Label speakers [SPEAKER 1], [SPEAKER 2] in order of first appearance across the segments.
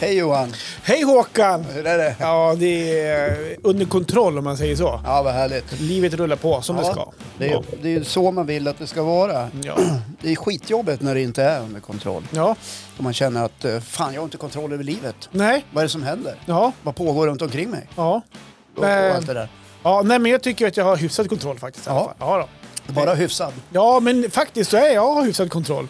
[SPEAKER 1] Hej Johan!
[SPEAKER 2] Hej Håkan!
[SPEAKER 1] Hur är det?
[SPEAKER 2] Ja, det är under kontroll om man säger så.
[SPEAKER 1] Ja, vad härligt.
[SPEAKER 2] Livet rullar på som det ska.
[SPEAKER 1] det, är, det är ju så man vill att det ska vara.
[SPEAKER 2] Ja.
[SPEAKER 1] Det är skitjobbigt när det inte är under kontroll.
[SPEAKER 2] ja.
[SPEAKER 1] Och man känner att eh, fan, jag har inte kontroll över livet.
[SPEAKER 2] Nej.
[SPEAKER 1] Vad är det som händer?
[SPEAKER 2] Ja.
[SPEAKER 1] Vad pågår runt omkring mig?
[SPEAKER 2] Ja.
[SPEAKER 1] Och, och allt det
[SPEAKER 2] Men-
[SPEAKER 1] där.
[SPEAKER 2] ja. Nej, men jag tycker att jag har hyfsad kontroll faktiskt. i alla
[SPEAKER 1] Ja.
[SPEAKER 2] fall. Ja, då.
[SPEAKER 1] Bara hyfsad.
[SPEAKER 2] ja, men faktiskt så är jag jag har hyfsad kontroll.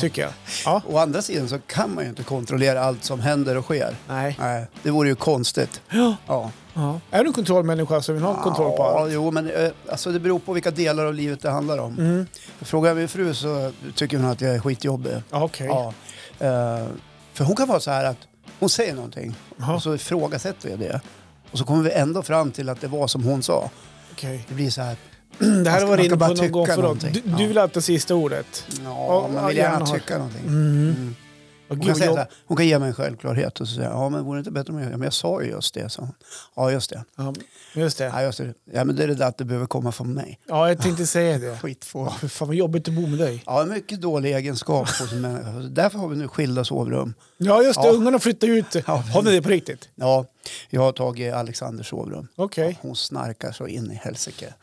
[SPEAKER 2] Tycker jag. Ja.
[SPEAKER 1] Å andra sidan så kan man ju inte kontrollera allt som händer och sker.
[SPEAKER 2] Nej.
[SPEAKER 1] Nej, det vore ju konstigt.
[SPEAKER 2] Ja.
[SPEAKER 1] Ja.
[SPEAKER 2] Ja. Är du en kontrollmänniska som vill ha kontroll på
[SPEAKER 1] Ja,
[SPEAKER 2] allt?
[SPEAKER 1] jo, men eh, alltså, det beror på vilka delar av livet det handlar om.
[SPEAKER 2] Mm.
[SPEAKER 1] Frågar jag min fru så tycker hon att jag är skitjobbig.
[SPEAKER 2] Ja, okej.
[SPEAKER 1] Ja. Eh, för hon kan vara så här att hon säger någonting
[SPEAKER 2] Jaha.
[SPEAKER 1] och så ifrågasätter jag det. Och så kommer vi ändå fram till att det var som hon sa.
[SPEAKER 2] Okej.
[SPEAKER 1] Det blir så här,
[SPEAKER 2] Det här har
[SPEAKER 1] ska-
[SPEAKER 2] varit
[SPEAKER 1] man
[SPEAKER 2] inne
[SPEAKER 1] ska bara
[SPEAKER 2] på någon gång
[SPEAKER 1] tycka
[SPEAKER 2] förut.
[SPEAKER 1] någonting.
[SPEAKER 2] Du,
[SPEAKER 1] Ja.
[SPEAKER 2] du vill alltid sista ordet.
[SPEAKER 1] ja, man vill gärna Mm, tycka någonting.
[SPEAKER 2] Och
[SPEAKER 1] Hon kan,
[SPEAKER 2] gud,
[SPEAKER 1] säga så
[SPEAKER 2] jag,
[SPEAKER 1] här, hon kan ge mig en självklarhet och så säger jag, ja men vore det inte bättre om jag... Ja, men jag sa ju just det, sa hon. Ja just det.
[SPEAKER 2] ja, just det.
[SPEAKER 1] Ja, just det. Ja, men det är det där att det behöver komma från mig.
[SPEAKER 2] Ja, jag tänkte säga det.
[SPEAKER 1] Skitfågel.
[SPEAKER 2] Fy fan vad jobbigt att bo med dig.
[SPEAKER 1] Ja, en mycket dålig egenskap hos en människa. Därför har vi nu skilda sovrum.
[SPEAKER 2] Ja, just det.
[SPEAKER 1] Ja.
[SPEAKER 2] Ungarna flyttar ut. Har ni det på riktigt?
[SPEAKER 1] Ja, jag har tagit Alexanders sovrum.
[SPEAKER 2] Okej.
[SPEAKER 1] Hon snarkar så in i helsike.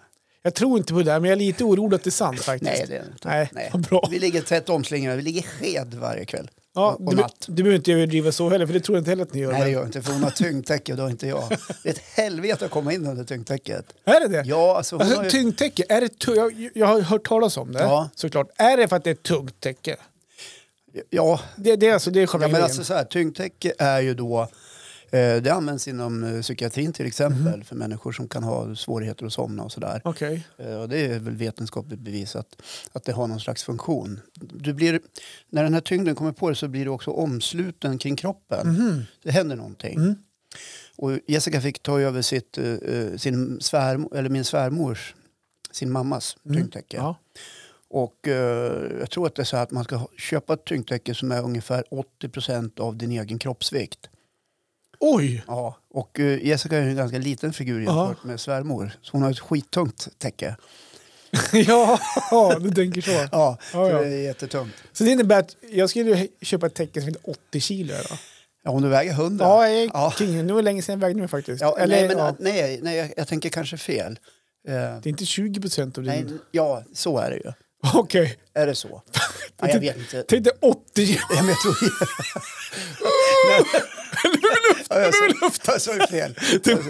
[SPEAKER 2] Jag tror inte på det där, men jag är lite orolig att det är sant faktiskt.
[SPEAKER 1] Nej, det är det inte.
[SPEAKER 2] Nej,
[SPEAKER 1] Nej.
[SPEAKER 2] vad bra.
[SPEAKER 1] Vi ligger tätt omslingrade. Vi ligger sked varje kväll
[SPEAKER 2] Ja,
[SPEAKER 1] och, och
[SPEAKER 2] du,
[SPEAKER 1] natt.
[SPEAKER 2] du behöver inte överdriva så heller, för det tror jag inte heller att ni gör.
[SPEAKER 1] Nej, det
[SPEAKER 2] men-
[SPEAKER 1] gör jag inte, för hon har tyngdtäcke och det har inte jag. Det är ett helvete att komma in under tyngdtäcket.
[SPEAKER 2] Är det det?
[SPEAKER 1] Ja, alltså hon
[SPEAKER 2] Alltså,
[SPEAKER 1] har ju-
[SPEAKER 2] Tyngdtäcke, är det tu- jag, jag har hört talas om det
[SPEAKER 1] Ja.
[SPEAKER 2] såklart. Är det för att det är ett tungt täcke?
[SPEAKER 1] Ja,
[SPEAKER 2] Det, det, är alltså, det är själva
[SPEAKER 1] ja men
[SPEAKER 2] grejen.
[SPEAKER 1] alltså så här, tyngdtäcke är ju då... Eh, det används inom eh, psykiatrin till exempel
[SPEAKER 2] Mhm.
[SPEAKER 1] för människor som kan ha svårigheter att somna och sådär.
[SPEAKER 2] Okej.
[SPEAKER 1] Eh, Och det är väl vetenskapligt bevisat att det har någon slags funktion. Du blir, när den här tyngden kommer på dig så blir du också omsluten kring kroppen.
[SPEAKER 2] Mhm.
[SPEAKER 1] Det händer någonting.
[SPEAKER 2] Mm.
[SPEAKER 1] Och Jessica fick ta över sitt, eh, eh, sin svärm, eller min svärmors, sin mammas tyngdtäcke.
[SPEAKER 2] Mm. Ja.
[SPEAKER 1] Och eh, jag tror att det är så här att man ska ha- köpa ett tyngdtäcke som är ungefär 80 av din egen kroppsvikt.
[SPEAKER 2] Oj!
[SPEAKER 1] Ja, och eh, Jessica är ju en ganska liten figur jämfört med svärmor. Så hon har ett skittungt täcke.
[SPEAKER 2] ja, du tänker så.
[SPEAKER 1] Ja,
[SPEAKER 2] Ja,
[SPEAKER 1] så
[SPEAKER 2] ja.
[SPEAKER 1] det är jättetungt.
[SPEAKER 2] Så det innebär att jag skulle ju köpa ett täcke som är 80 kilo. Då.
[SPEAKER 1] Ja, om du väger 100.
[SPEAKER 2] Ja, jag är
[SPEAKER 1] ja.
[SPEAKER 2] king. Nu var det länge sedan jag vägde mig faktiskt.
[SPEAKER 1] Ja,
[SPEAKER 2] Eller,
[SPEAKER 1] nej, men,
[SPEAKER 2] ja,
[SPEAKER 1] nej, nej, jag, jag tänker kanske fel. Eh,
[SPEAKER 2] det är inte 20 procent av
[SPEAKER 1] nej,
[SPEAKER 2] din...
[SPEAKER 1] ja, så är det ju.
[SPEAKER 2] Okej.
[SPEAKER 1] Är det så? Nej, jag vet inte.
[SPEAKER 2] Tänk dig 80
[SPEAKER 1] Ja, men jag tror... men, nu är luft! Ja, jag sa- jag sa ju fel.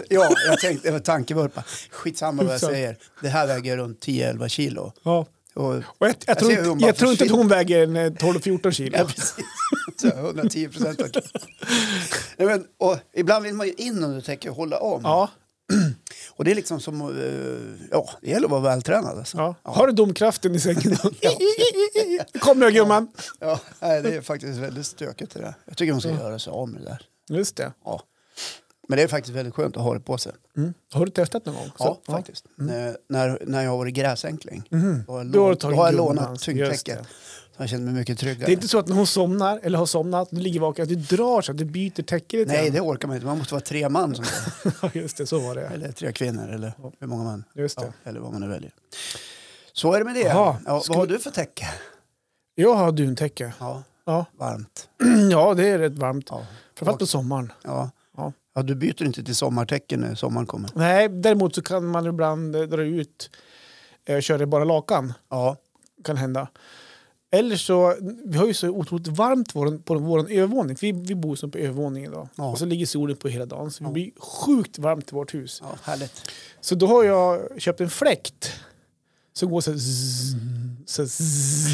[SPEAKER 1] Ja, jag tänkte, det var tankevurpa. Skitsamma vad jag
[SPEAKER 2] Tusan.
[SPEAKER 1] säger. Det här väger runt 10-11 kilo.
[SPEAKER 2] Ja.
[SPEAKER 1] Och
[SPEAKER 2] Och jag, jag, tror,
[SPEAKER 1] ser
[SPEAKER 2] inte,
[SPEAKER 1] hur hon
[SPEAKER 2] jag,
[SPEAKER 1] bara
[SPEAKER 2] tror inte att
[SPEAKER 1] försvinner.
[SPEAKER 2] hon väger en eh, 12-14 kilo.
[SPEAKER 1] Ja, precis. Så 110 procent. Nej, men, och ibland vill man ju in under täcket och hålla om.
[SPEAKER 2] Ja,
[SPEAKER 1] Och det är liksom som, eh, ja, det gäller att vara vältränad. Alltså.
[SPEAKER 2] ja. Har du domkraften i sängen? Kom nu gumman!
[SPEAKER 1] Ja, nej, det är faktiskt väldigt stökigt det där. Jag tycker hon ska göra sig av med det där.
[SPEAKER 2] Just det.
[SPEAKER 1] Ja. Men det är faktiskt väldigt skönt att ha det på sig.
[SPEAKER 2] Mm. Har du testat någon gång?
[SPEAKER 1] Ja,
[SPEAKER 2] Så-
[SPEAKER 1] faktiskt. När- När, när jag har varit gräsänkling, då har jag,
[SPEAKER 2] Mm. Mhm. Då har
[SPEAKER 1] lån, då
[SPEAKER 2] du tagit
[SPEAKER 1] har jag
[SPEAKER 2] gumman,
[SPEAKER 1] lånat
[SPEAKER 2] just
[SPEAKER 1] tyngdtäcket.
[SPEAKER 2] det.
[SPEAKER 1] Så jag känner mig mycket tryggare.
[SPEAKER 2] Det är inte så att när hon somnar eller har somnat, du ligger vaken, att du drar så att du byter täcke lite
[SPEAKER 1] Nej,
[SPEAKER 2] grann.
[SPEAKER 1] det orkar man inte. Man måste vara tre man, som,
[SPEAKER 2] Ja, Just det, så var det.
[SPEAKER 1] eller tre kvinnor, eller hur många man
[SPEAKER 2] Just det.
[SPEAKER 1] eller vad man nu väljer. Så är det med det.
[SPEAKER 2] Jaha,
[SPEAKER 1] ja,
[SPEAKER 2] ska
[SPEAKER 1] vad har
[SPEAKER 2] vi-
[SPEAKER 1] du för täcke?
[SPEAKER 2] Jag har duntäcke.
[SPEAKER 1] Ja,
[SPEAKER 2] Ja.
[SPEAKER 1] varmt.
[SPEAKER 2] ja, det är rätt varmt.
[SPEAKER 1] Ja.
[SPEAKER 2] Framförallt på sommaren.
[SPEAKER 1] Ja.
[SPEAKER 2] Ja.
[SPEAKER 1] Ja, du byter inte till sommartäcke när sommaren kommer?
[SPEAKER 2] Nej, däremot så kan man ibland eh, dra ut eh, och köra i bara lakan.
[SPEAKER 1] Ja.
[SPEAKER 2] kan hända. Eller så, vi har ju så otroligt varmt vår, på vår övervåning. Vi, vi bor som på övervåningen idag.
[SPEAKER 1] Ja.
[SPEAKER 2] Och så ligger solen på hela dagen. Så det blir sjukt varmt i vårt hus.
[SPEAKER 1] ja, härligt.
[SPEAKER 2] Så då har jag köpt en fläkt. Som går så här, zzz, så här zzz.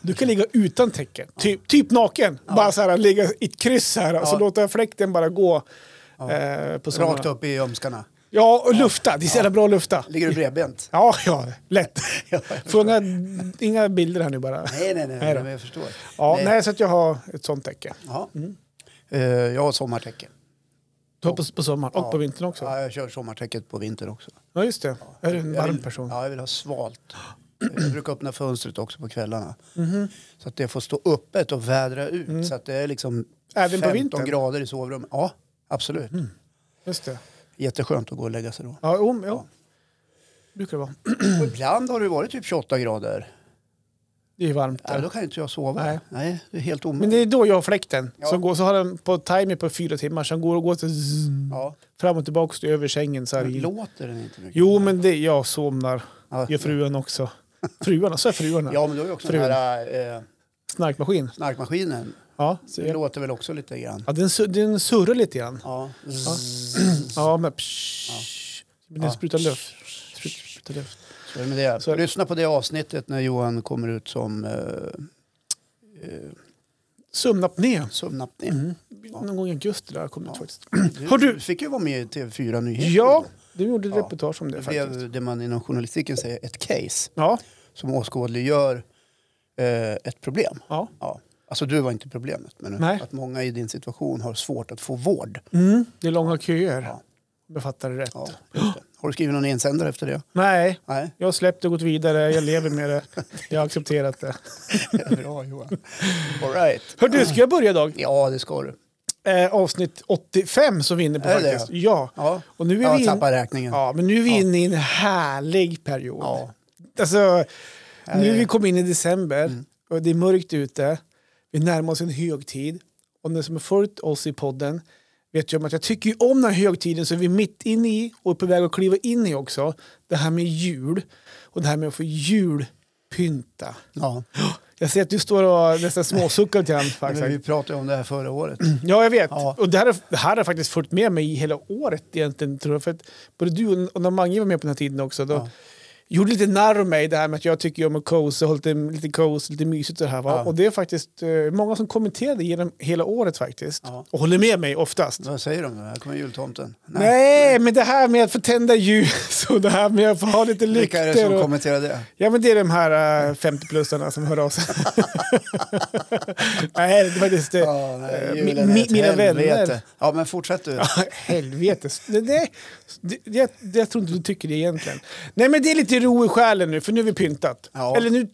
[SPEAKER 2] Du kan ligga utan täcke. Typ, typ naken. Bara så här, ligga i ett kryss här. Och så
[SPEAKER 1] Ja.
[SPEAKER 2] låter jag fläkten bara gå. Eh, på sommaren.
[SPEAKER 1] Rakt upp i ömskarna.
[SPEAKER 2] Ja, och lufta. Det är så jävla bra att lufta.
[SPEAKER 1] Ligger du bredbent?
[SPEAKER 2] Ja, ja, lätt.
[SPEAKER 1] Ja,
[SPEAKER 2] Får inga, inga bilder här nu bara.
[SPEAKER 1] Nej, nej, nej,
[SPEAKER 2] Nej
[SPEAKER 1] nej,
[SPEAKER 2] då.
[SPEAKER 1] men jag förstår.
[SPEAKER 2] Ja,
[SPEAKER 1] Nej.
[SPEAKER 2] nej. Mm. så att jag har ett sånt täcke.
[SPEAKER 1] Ja. Eh, jag har sommartäcke.
[SPEAKER 2] Du har på, på sommaren och på vintern också?
[SPEAKER 1] Ja, jag kör sommartäcket på vinter också.
[SPEAKER 2] Ja, just det. Är du en
[SPEAKER 1] Jag
[SPEAKER 2] varm
[SPEAKER 1] vill-
[SPEAKER 2] person?
[SPEAKER 1] Ja, jag vill ha svalt. Jag brukar öppna fönstret också på kvällarna.
[SPEAKER 2] Mhm.
[SPEAKER 1] Så att det får stå öppet och vädra ut. Så att det är liksom
[SPEAKER 2] Mm. Även på
[SPEAKER 1] 15
[SPEAKER 2] vintern? Mm.
[SPEAKER 1] grader i sovrummet. Ja, absolut.
[SPEAKER 2] Just det.
[SPEAKER 1] Jätteskönt att gå och lägga sig då.
[SPEAKER 2] Ja, jo, jo. brukar det vara.
[SPEAKER 1] Och ibland har det varit typ 28 grader.
[SPEAKER 2] Det är ju varmt.
[SPEAKER 1] Ja, då kan ju inte jag sova.
[SPEAKER 2] Nej.
[SPEAKER 1] Nej, det är helt
[SPEAKER 2] Men
[SPEAKER 1] omöjligt.
[SPEAKER 2] det är då jag har fläkten.
[SPEAKER 1] Ja.
[SPEAKER 2] Som går, så har den på timer på fyra timmar. Sen går och går så zzz,
[SPEAKER 1] Ja,
[SPEAKER 2] fram och tillbaka till över sängen. Så här.
[SPEAKER 1] men
[SPEAKER 2] i-
[SPEAKER 1] låter den inte mycket?
[SPEAKER 2] Jo, men det, jag somnar.
[SPEAKER 1] ja.
[SPEAKER 2] Gör fruarna också. Fruarna, så är fruarna.
[SPEAKER 1] Ja, men då är ju också
[SPEAKER 2] Frun.
[SPEAKER 1] den här eh,
[SPEAKER 2] Snarkmaskin.
[SPEAKER 1] snarkmaskinen.
[SPEAKER 2] Ja, så
[SPEAKER 1] Det
[SPEAKER 2] jag,
[SPEAKER 1] låter väl också lite grann.
[SPEAKER 2] ja den, su- den surrar lite grann.
[SPEAKER 1] Ja. Zzz.
[SPEAKER 2] Ja, men psh, men Den
[SPEAKER 1] Ja.
[SPEAKER 2] sprutar luft. Sprut- Sprutar luft.
[SPEAKER 1] Så är det med det.
[SPEAKER 2] Så-
[SPEAKER 1] Lyssna på det avsnittet när Johan kommer ut som eh, eh,
[SPEAKER 2] Sömnapné.
[SPEAKER 1] sömnapné.
[SPEAKER 2] Mm. Någon gång i augusti där kom det
[SPEAKER 1] Ja.
[SPEAKER 2] faktiskt. Har
[SPEAKER 1] Mm. Har
[SPEAKER 2] du-
[SPEAKER 1] du fick ju vara med i TV4 Nyheter.
[SPEAKER 2] Ja, du gjorde ett
[SPEAKER 1] Ja.
[SPEAKER 2] reportage om det
[SPEAKER 1] Det
[SPEAKER 2] faktiskt.
[SPEAKER 1] blev det man inom journalistiken säger ett case
[SPEAKER 2] Ja,
[SPEAKER 1] som åskådliggör eh, ett problem.
[SPEAKER 2] ja.
[SPEAKER 1] Ja. Alltså du var inte problemet, men
[SPEAKER 2] Nej.
[SPEAKER 1] att många i din situation har svårt att få vård.
[SPEAKER 2] Mm, det är långa köer.
[SPEAKER 1] Ja.
[SPEAKER 2] Om jag fattar det rätt.
[SPEAKER 1] Ja, just det. Har du skrivit någon insändare efter det?
[SPEAKER 2] Nej,
[SPEAKER 1] Nej.
[SPEAKER 2] jag har släppt och gått vidare. Jag lever med det. Jag har accepterat det.
[SPEAKER 1] Bra Johan. All right.
[SPEAKER 2] Hör du, ska jag börja idag?
[SPEAKER 1] Ja, det ska du.
[SPEAKER 2] Eh, avsnitt 85 som vi är inne på
[SPEAKER 1] Är det
[SPEAKER 2] faktiskt.
[SPEAKER 1] det?
[SPEAKER 2] Ja.
[SPEAKER 1] Ja.
[SPEAKER 2] Och nu är
[SPEAKER 1] Jag
[SPEAKER 2] vi in...
[SPEAKER 1] tappar räkningen.
[SPEAKER 2] Ja, men nu är vi
[SPEAKER 1] Ja.
[SPEAKER 2] inne i en härlig period.
[SPEAKER 1] Ja.
[SPEAKER 2] Alltså, nu
[SPEAKER 1] Eh,
[SPEAKER 2] vi kom in i december
[SPEAKER 1] Mm.
[SPEAKER 2] och det är mörkt ute. Vi närmar oss en högtid. Och ni som har följt oss i podden vet ju om att jag tycker ju om den här högtiden som vi är mitt inne i och är på väg att kliva in i också. Det här med jul och det här med att få julpynta.
[SPEAKER 1] ja.
[SPEAKER 2] Jag ser att du står och nästan småsuckar lite grann.
[SPEAKER 1] Men
[SPEAKER 2] faktiskt.
[SPEAKER 1] vi pratade om det här förra året.
[SPEAKER 2] Ja, jag vet.
[SPEAKER 1] Ja.
[SPEAKER 2] Och det här, har- det här har faktiskt följt med mig i hela året egentligen, tror jag. För att både du och- och när Mange var med på den här tiden också, då
[SPEAKER 1] Ja.
[SPEAKER 2] gjorde lite narr av mig det här med att jag tycker om att coasa, och lite, lite coase, lite mysigt och det här. Va?
[SPEAKER 1] Ja.
[SPEAKER 2] Och det är faktiskt eh, många som kommenterade genom hela året faktiskt.
[SPEAKER 1] Ja.
[SPEAKER 2] Och håller med mig oftast.
[SPEAKER 1] Vad säger de? då? Här kommer jultomten.
[SPEAKER 2] Nej. men det här med att få tända ljus och det här med att få ha lite
[SPEAKER 1] Vilka är det som
[SPEAKER 2] lykter. Och... Eh,
[SPEAKER 1] kommenterar det?
[SPEAKER 2] Ja, men det är de här eh, 50-plussarna som hör av sig. nej, det är faktiskt... eh,
[SPEAKER 1] Ja,
[SPEAKER 2] eh,
[SPEAKER 1] nej,
[SPEAKER 2] mi-
[SPEAKER 1] julen är
[SPEAKER 2] mi-
[SPEAKER 1] ett
[SPEAKER 2] mina
[SPEAKER 1] helvete.
[SPEAKER 2] vänner. Ah.
[SPEAKER 1] Ja, men fortsätt du.
[SPEAKER 2] Ja, Helvetes. Det, det, det, jag, det, jag tror inte du tycker det egentligen. Nej, men det är lite ro i själen nu, för nu har vi pyntat.
[SPEAKER 1] Ja.
[SPEAKER 2] Eller nu,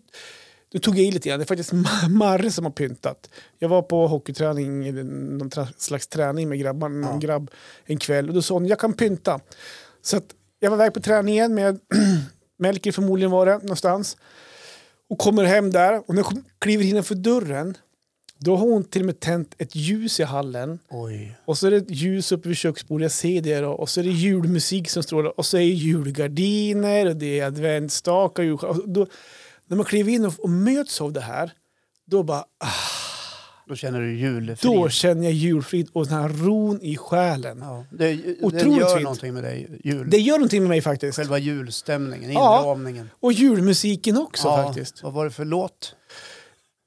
[SPEAKER 2] nu tog jag i lite grann. Det är faktiskt Ma- Marre som har pyntat. Jag var på hockeyträning, eller någon tra- slags träning med grabbar, någon
[SPEAKER 1] Ja.
[SPEAKER 2] grabb en kväll. Och då sa hon, jag kan pynta. Så att jag var iväg på träningen med Melker förmodligen var det, någonstans. Och kommer hem där. Och när jag kom- kliver innanför dörren, då har hon till och med tänt ett ljus i hallen.
[SPEAKER 1] Oj.
[SPEAKER 2] Och så är det ett ljus uppe vid köksbordet, jag ser det då. Och så är det julmusik som strålar. Och så är det julgardiner och det är adventsstaka. och julsjö- Och då, när man kliver in och, och möts av det här, då bara, ah,
[SPEAKER 1] Då känner du julefrid.
[SPEAKER 2] då känner jag julfrid och den här ron i själen.
[SPEAKER 1] Ja, det, det
[SPEAKER 2] Otroligt
[SPEAKER 1] gör
[SPEAKER 2] fint.
[SPEAKER 1] någonting med dig, jul.
[SPEAKER 2] Mm. Det gör någonting med mig faktiskt.
[SPEAKER 1] Själva julstämningen,
[SPEAKER 2] Ja.
[SPEAKER 1] inramningen.
[SPEAKER 2] Och julmusiken också
[SPEAKER 1] Ja,
[SPEAKER 2] faktiskt.
[SPEAKER 1] Vad var det för låt?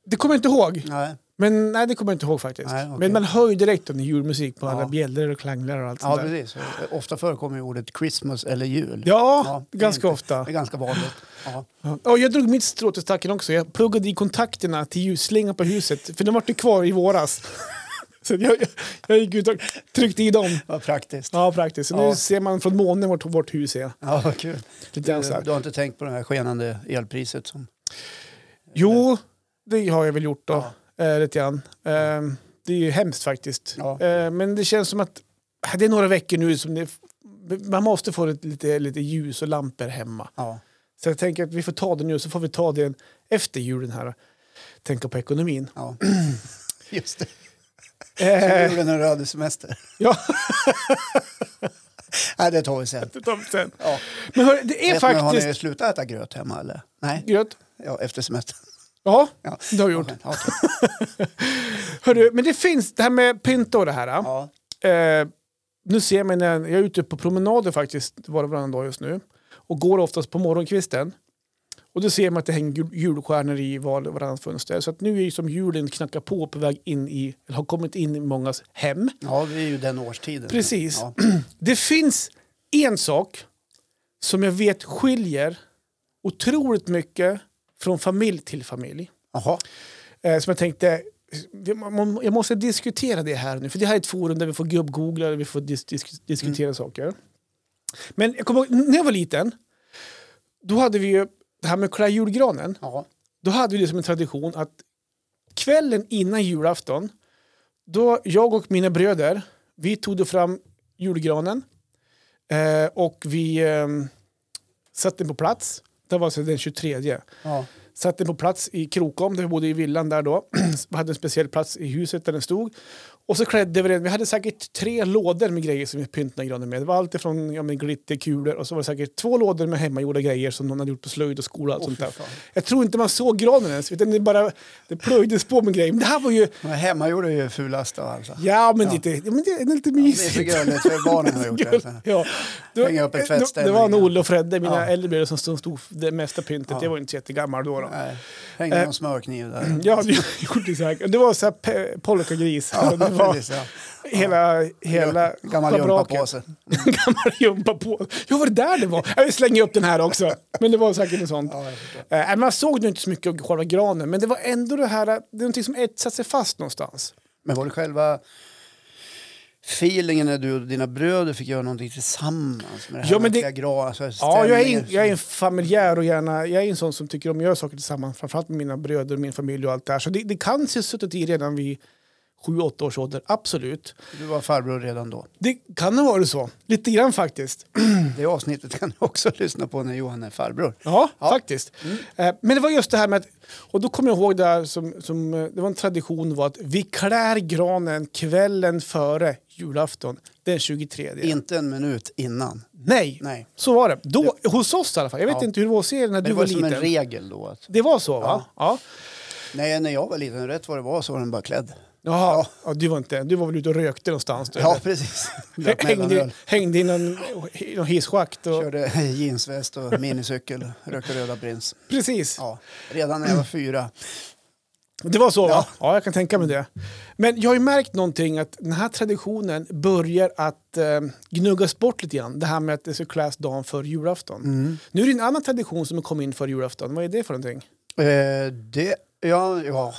[SPEAKER 2] Det kommer jag inte ihåg.
[SPEAKER 1] Nej.
[SPEAKER 2] Men nej, det kommer jag inte ihåg faktiskt.
[SPEAKER 1] Nej, okej.
[SPEAKER 2] Men man hör ju direkt om det är julmusik på
[SPEAKER 1] Ja.
[SPEAKER 2] alla bjällror och klanglar och allt
[SPEAKER 1] Ja,
[SPEAKER 2] sånt där.
[SPEAKER 1] precis. Ofta förekommer ju ordet Christmas eller jul.
[SPEAKER 2] Ja,
[SPEAKER 1] Ja, det är
[SPEAKER 2] ganska
[SPEAKER 1] inte-
[SPEAKER 2] ofta.
[SPEAKER 1] Det är ganska vanligt. Ja.
[SPEAKER 2] Ja, och jag drog mitt strå till stacken också. Jag pluggade i kontakterna till ljusslingan på huset, för de var ju kvar i våras. Så jag, jag, jag gick ut och tryckte i dem.
[SPEAKER 1] Vad praktiskt.
[SPEAKER 2] Ja, praktiskt. Så nu
[SPEAKER 1] Ja.
[SPEAKER 2] ser man från månen vart vårt hus är.
[SPEAKER 1] Ja, vad kul.
[SPEAKER 2] Lite grann så
[SPEAKER 1] Du,
[SPEAKER 2] här.
[SPEAKER 1] du har inte tänkt på det här skenande elpriset? Som,
[SPEAKER 2] Jo, det har jag väl gjort då. Eh, lite grann. Eh, det är ju hemskt faktiskt.
[SPEAKER 1] Ja.
[SPEAKER 2] Eh, men det känns som att eh, det är några veckor nu som det, man måste få lite- lite, lite ljus och lampor hemma.
[SPEAKER 1] ja.
[SPEAKER 2] Så jag tänker att vi får ta det nu, så får vi ta det efter julen här. Tänka på ekonomin.
[SPEAKER 1] ja. Just det.
[SPEAKER 2] Eh,
[SPEAKER 1] Julen när du hade semester.
[SPEAKER 2] Ja.
[SPEAKER 1] Nej, det tar vi sen.
[SPEAKER 2] Det tar vi sen.
[SPEAKER 1] Ja.
[SPEAKER 2] Men hörru, det är
[SPEAKER 1] Vet ni, Har
[SPEAKER 2] faktiskt...
[SPEAKER 1] ni slutat äta gröt hemma eller? Nej,
[SPEAKER 2] Gröt?
[SPEAKER 1] ja, efter semestern.
[SPEAKER 2] Ja,
[SPEAKER 1] Ja.
[SPEAKER 2] det har vi gjort.
[SPEAKER 1] Ja, okej.
[SPEAKER 2] Hörru, men det finns, det här med pynta och det här.
[SPEAKER 1] ja.
[SPEAKER 2] Eh, nu ser jag mig när jag är ute på promenader faktiskt, var och varannan dag just nu. Och går oftast på morgonkvisten. Och då ser man att det hänger jul- julstjärnor i var och varannat fönster. Så att nu är ju som julen knackar på på väg in i, eller har kommit in i mångas hem.
[SPEAKER 1] ja, det är ju den årstiden.
[SPEAKER 2] Precis.
[SPEAKER 1] Ja.
[SPEAKER 2] Det finns en sak som jag vet skiljer otroligt mycket från familj till familj.
[SPEAKER 1] Jaha,
[SPEAKER 2] eh, som jag tänkte, vi- man- man- jag måste diskutera det här nu, för det här är ett forum där vi får gubbgoogla och vi får dis dis diskutera saker. Men jag kommer ihåg, när jag var liten, då hade vi ju det här med att klä julgranen.
[SPEAKER 1] ja.
[SPEAKER 2] Då hade vi det som en tradition att kvällen innan julafton, då jag och mina bröder, vi tog då fram julgranen ehm, eh, och vi eh, satte den på plats. Det var alltså den 23.
[SPEAKER 1] ja.
[SPEAKER 2] Satt den på plats i Krokom där vi bodde i villan där då. vi hade en speciell plats i huset där den stod. Och så klädde vi den. Vi hade säkert tre lådor med grejer som vi pyntade granen med. Det var allt ifrån ja, men glitterkulor och så var det säkert två lådor med hemmagjorda grejer som någon hade gjort på slöjd och skola. Och
[SPEAKER 1] Åh,
[SPEAKER 2] sånt
[SPEAKER 1] fy
[SPEAKER 2] där.
[SPEAKER 1] fan.
[SPEAKER 2] Jag tror inte man såg granen ens, utan det bara det plöjdes på med grejer. Men det här var ju,
[SPEAKER 1] Men hemmagjorda är ju fulast av allt. va?
[SPEAKER 2] ja men,
[SPEAKER 1] Ja.
[SPEAKER 2] Lite, ja, men det är
[SPEAKER 1] Det
[SPEAKER 2] lite
[SPEAKER 1] är för
[SPEAKER 2] mysigt.
[SPEAKER 1] gulligt för barnen har gjort det.
[SPEAKER 2] Ja. Det,
[SPEAKER 1] Hänga upp ett
[SPEAKER 2] det,
[SPEAKER 1] tvättställ.
[SPEAKER 2] det var en Olle och Fredde, mina
[SPEAKER 1] Ja.
[SPEAKER 2] äldre bröder, som stod stod för det mesta pyntet.
[SPEAKER 1] Ja.
[SPEAKER 2] Jag var inte så jättegammal då. då.
[SPEAKER 1] Nej, Hängde någon smörkniv där.
[SPEAKER 2] Eh. Ja, det gjorde det säkert. Det var så här pe- polkagris.
[SPEAKER 1] Ja,
[SPEAKER 2] det var
[SPEAKER 1] precis, ja.
[SPEAKER 2] hela, hela
[SPEAKER 1] Gammal
[SPEAKER 2] schabraket.
[SPEAKER 1] gympapåse.
[SPEAKER 2] Gammal jumpa på. Ja, var det där det var? Jag slänger upp den här också. Men det var säkert något sånt.
[SPEAKER 1] Ja, jag förstår.
[SPEAKER 2] Eh, nej, man såg nu inte så mycket av själva granen, men det var ändå det här, det är någonting som etsat sig fast någonstans.
[SPEAKER 1] Men var det själva feelingen när du och dina bröder fick göra någonting tillsammans? Med det här
[SPEAKER 2] Ja, men det-
[SPEAKER 1] verkliga gra, alltså
[SPEAKER 2] Ja, jag är, in,
[SPEAKER 1] stämningen?
[SPEAKER 2] jag är en familjär och gärna, jag är en sån som tycker om att göra saker tillsammans, framförallt med mina bröder och min familj och allt det här. Så det, det kan se suttit i redan vid 7-8 års ålder, absolut.
[SPEAKER 1] Du var farbror redan då.
[SPEAKER 2] Det kan ha varit så, lite grann faktiskt.
[SPEAKER 1] Det avsnittet kan du också lyssna på när Johan är farbror.
[SPEAKER 2] Ja, faktiskt.
[SPEAKER 1] Mm.
[SPEAKER 2] Eh, Men det var just det här med att, och då kommer jag ihåg det här som, som eh, det var en tradition var att vi klär granen kvällen före julafton, den 23.
[SPEAKER 1] Inte en minut innan.
[SPEAKER 2] Nej,
[SPEAKER 1] Nej.
[SPEAKER 2] så var det. Då, hos oss i alla fall. Jag vet
[SPEAKER 1] Ja.
[SPEAKER 2] inte hur det var hos er när
[SPEAKER 1] Men
[SPEAKER 2] du
[SPEAKER 1] det
[SPEAKER 2] var
[SPEAKER 1] var som
[SPEAKER 2] liten.
[SPEAKER 1] en regel då. Att,
[SPEAKER 2] det var så va? Ja.
[SPEAKER 1] nej, när jag var liten, rätt vad det var så var den bara klädd.
[SPEAKER 2] Jaha, ja. du, var inte, du var väl ute och rökte någonstans? Du,
[SPEAKER 1] Ja, precis.
[SPEAKER 2] Eller?
[SPEAKER 1] Drack
[SPEAKER 2] hängde,
[SPEAKER 1] mellanöl.
[SPEAKER 2] hängde i någon, i någon hisschakt? Och,
[SPEAKER 1] Körde jeansväst och minicykel, rökte Röda Prins.
[SPEAKER 2] precis.
[SPEAKER 1] Ja, redan när jag var fyra.
[SPEAKER 2] Det var så va?
[SPEAKER 1] Ja.
[SPEAKER 2] Ja, jag kan tänka mig det. Men jag har ju märkt någonting att den här traditionen börjar att eh, gnuggas bort lite grann. Det här med att det ska kläs dagen för julafton.
[SPEAKER 1] Mm.
[SPEAKER 2] Nu är det en annan tradition som kom in för julafton. Vad är det för någonting?
[SPEAKER 1] Eh, det, ja, ja.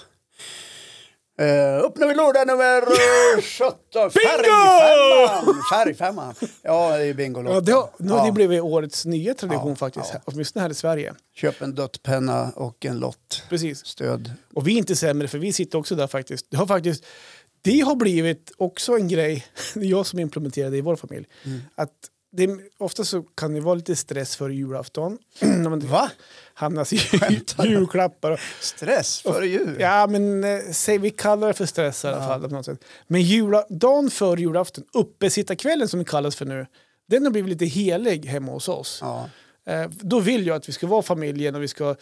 [SPEAKER 1] Eh, upp nu i låda nummer eh, 17. Färgfemman! Färgfemman. Ja, det är bingolotto.
[SPEAKER 2] Ja, det, har, nu har
[SPEAKER 1] Ja.
[SPEAKER 2] det blivit årets nya tradition
[SPEAKER 1] Ja,
[SPEAKER 2] faktiskt,
[SPEAKER 1] ja.
[SPEAKER 2] åtminstone här i Sverige.
[SPEAKER 1] Köp en döttpenna och en lott.
[SPEAKER 2] Precis.
[SPEAKER 1] Stöd.
[SPEAKER 2] Och vi är inte sämre för vi sitter också där faktiskt. Det har faktiskt det har blivit också en grej, det är jag som implementerade det i vår familj, att det, är- ofta så kan det vara lite stress före julafton. när man
[SPEAKER 1] Va?
[SPEAKER 2] hamnas i julklappar. Och,
[SPEAKER 1] Stress före jul?
[SPEAKER 2] ja, men eh, säg, vi kallar det för stress i alla fall. På något sätt. Men jula, dagen före julafton, uppesittarkvällen som det kallas för nu, den har blivit lite helig hemma hos oss.
[SPEAKER 1] Ja.
[SPEAKER 2] Eh, Då vill jag att vi ska vara familjen och vi ska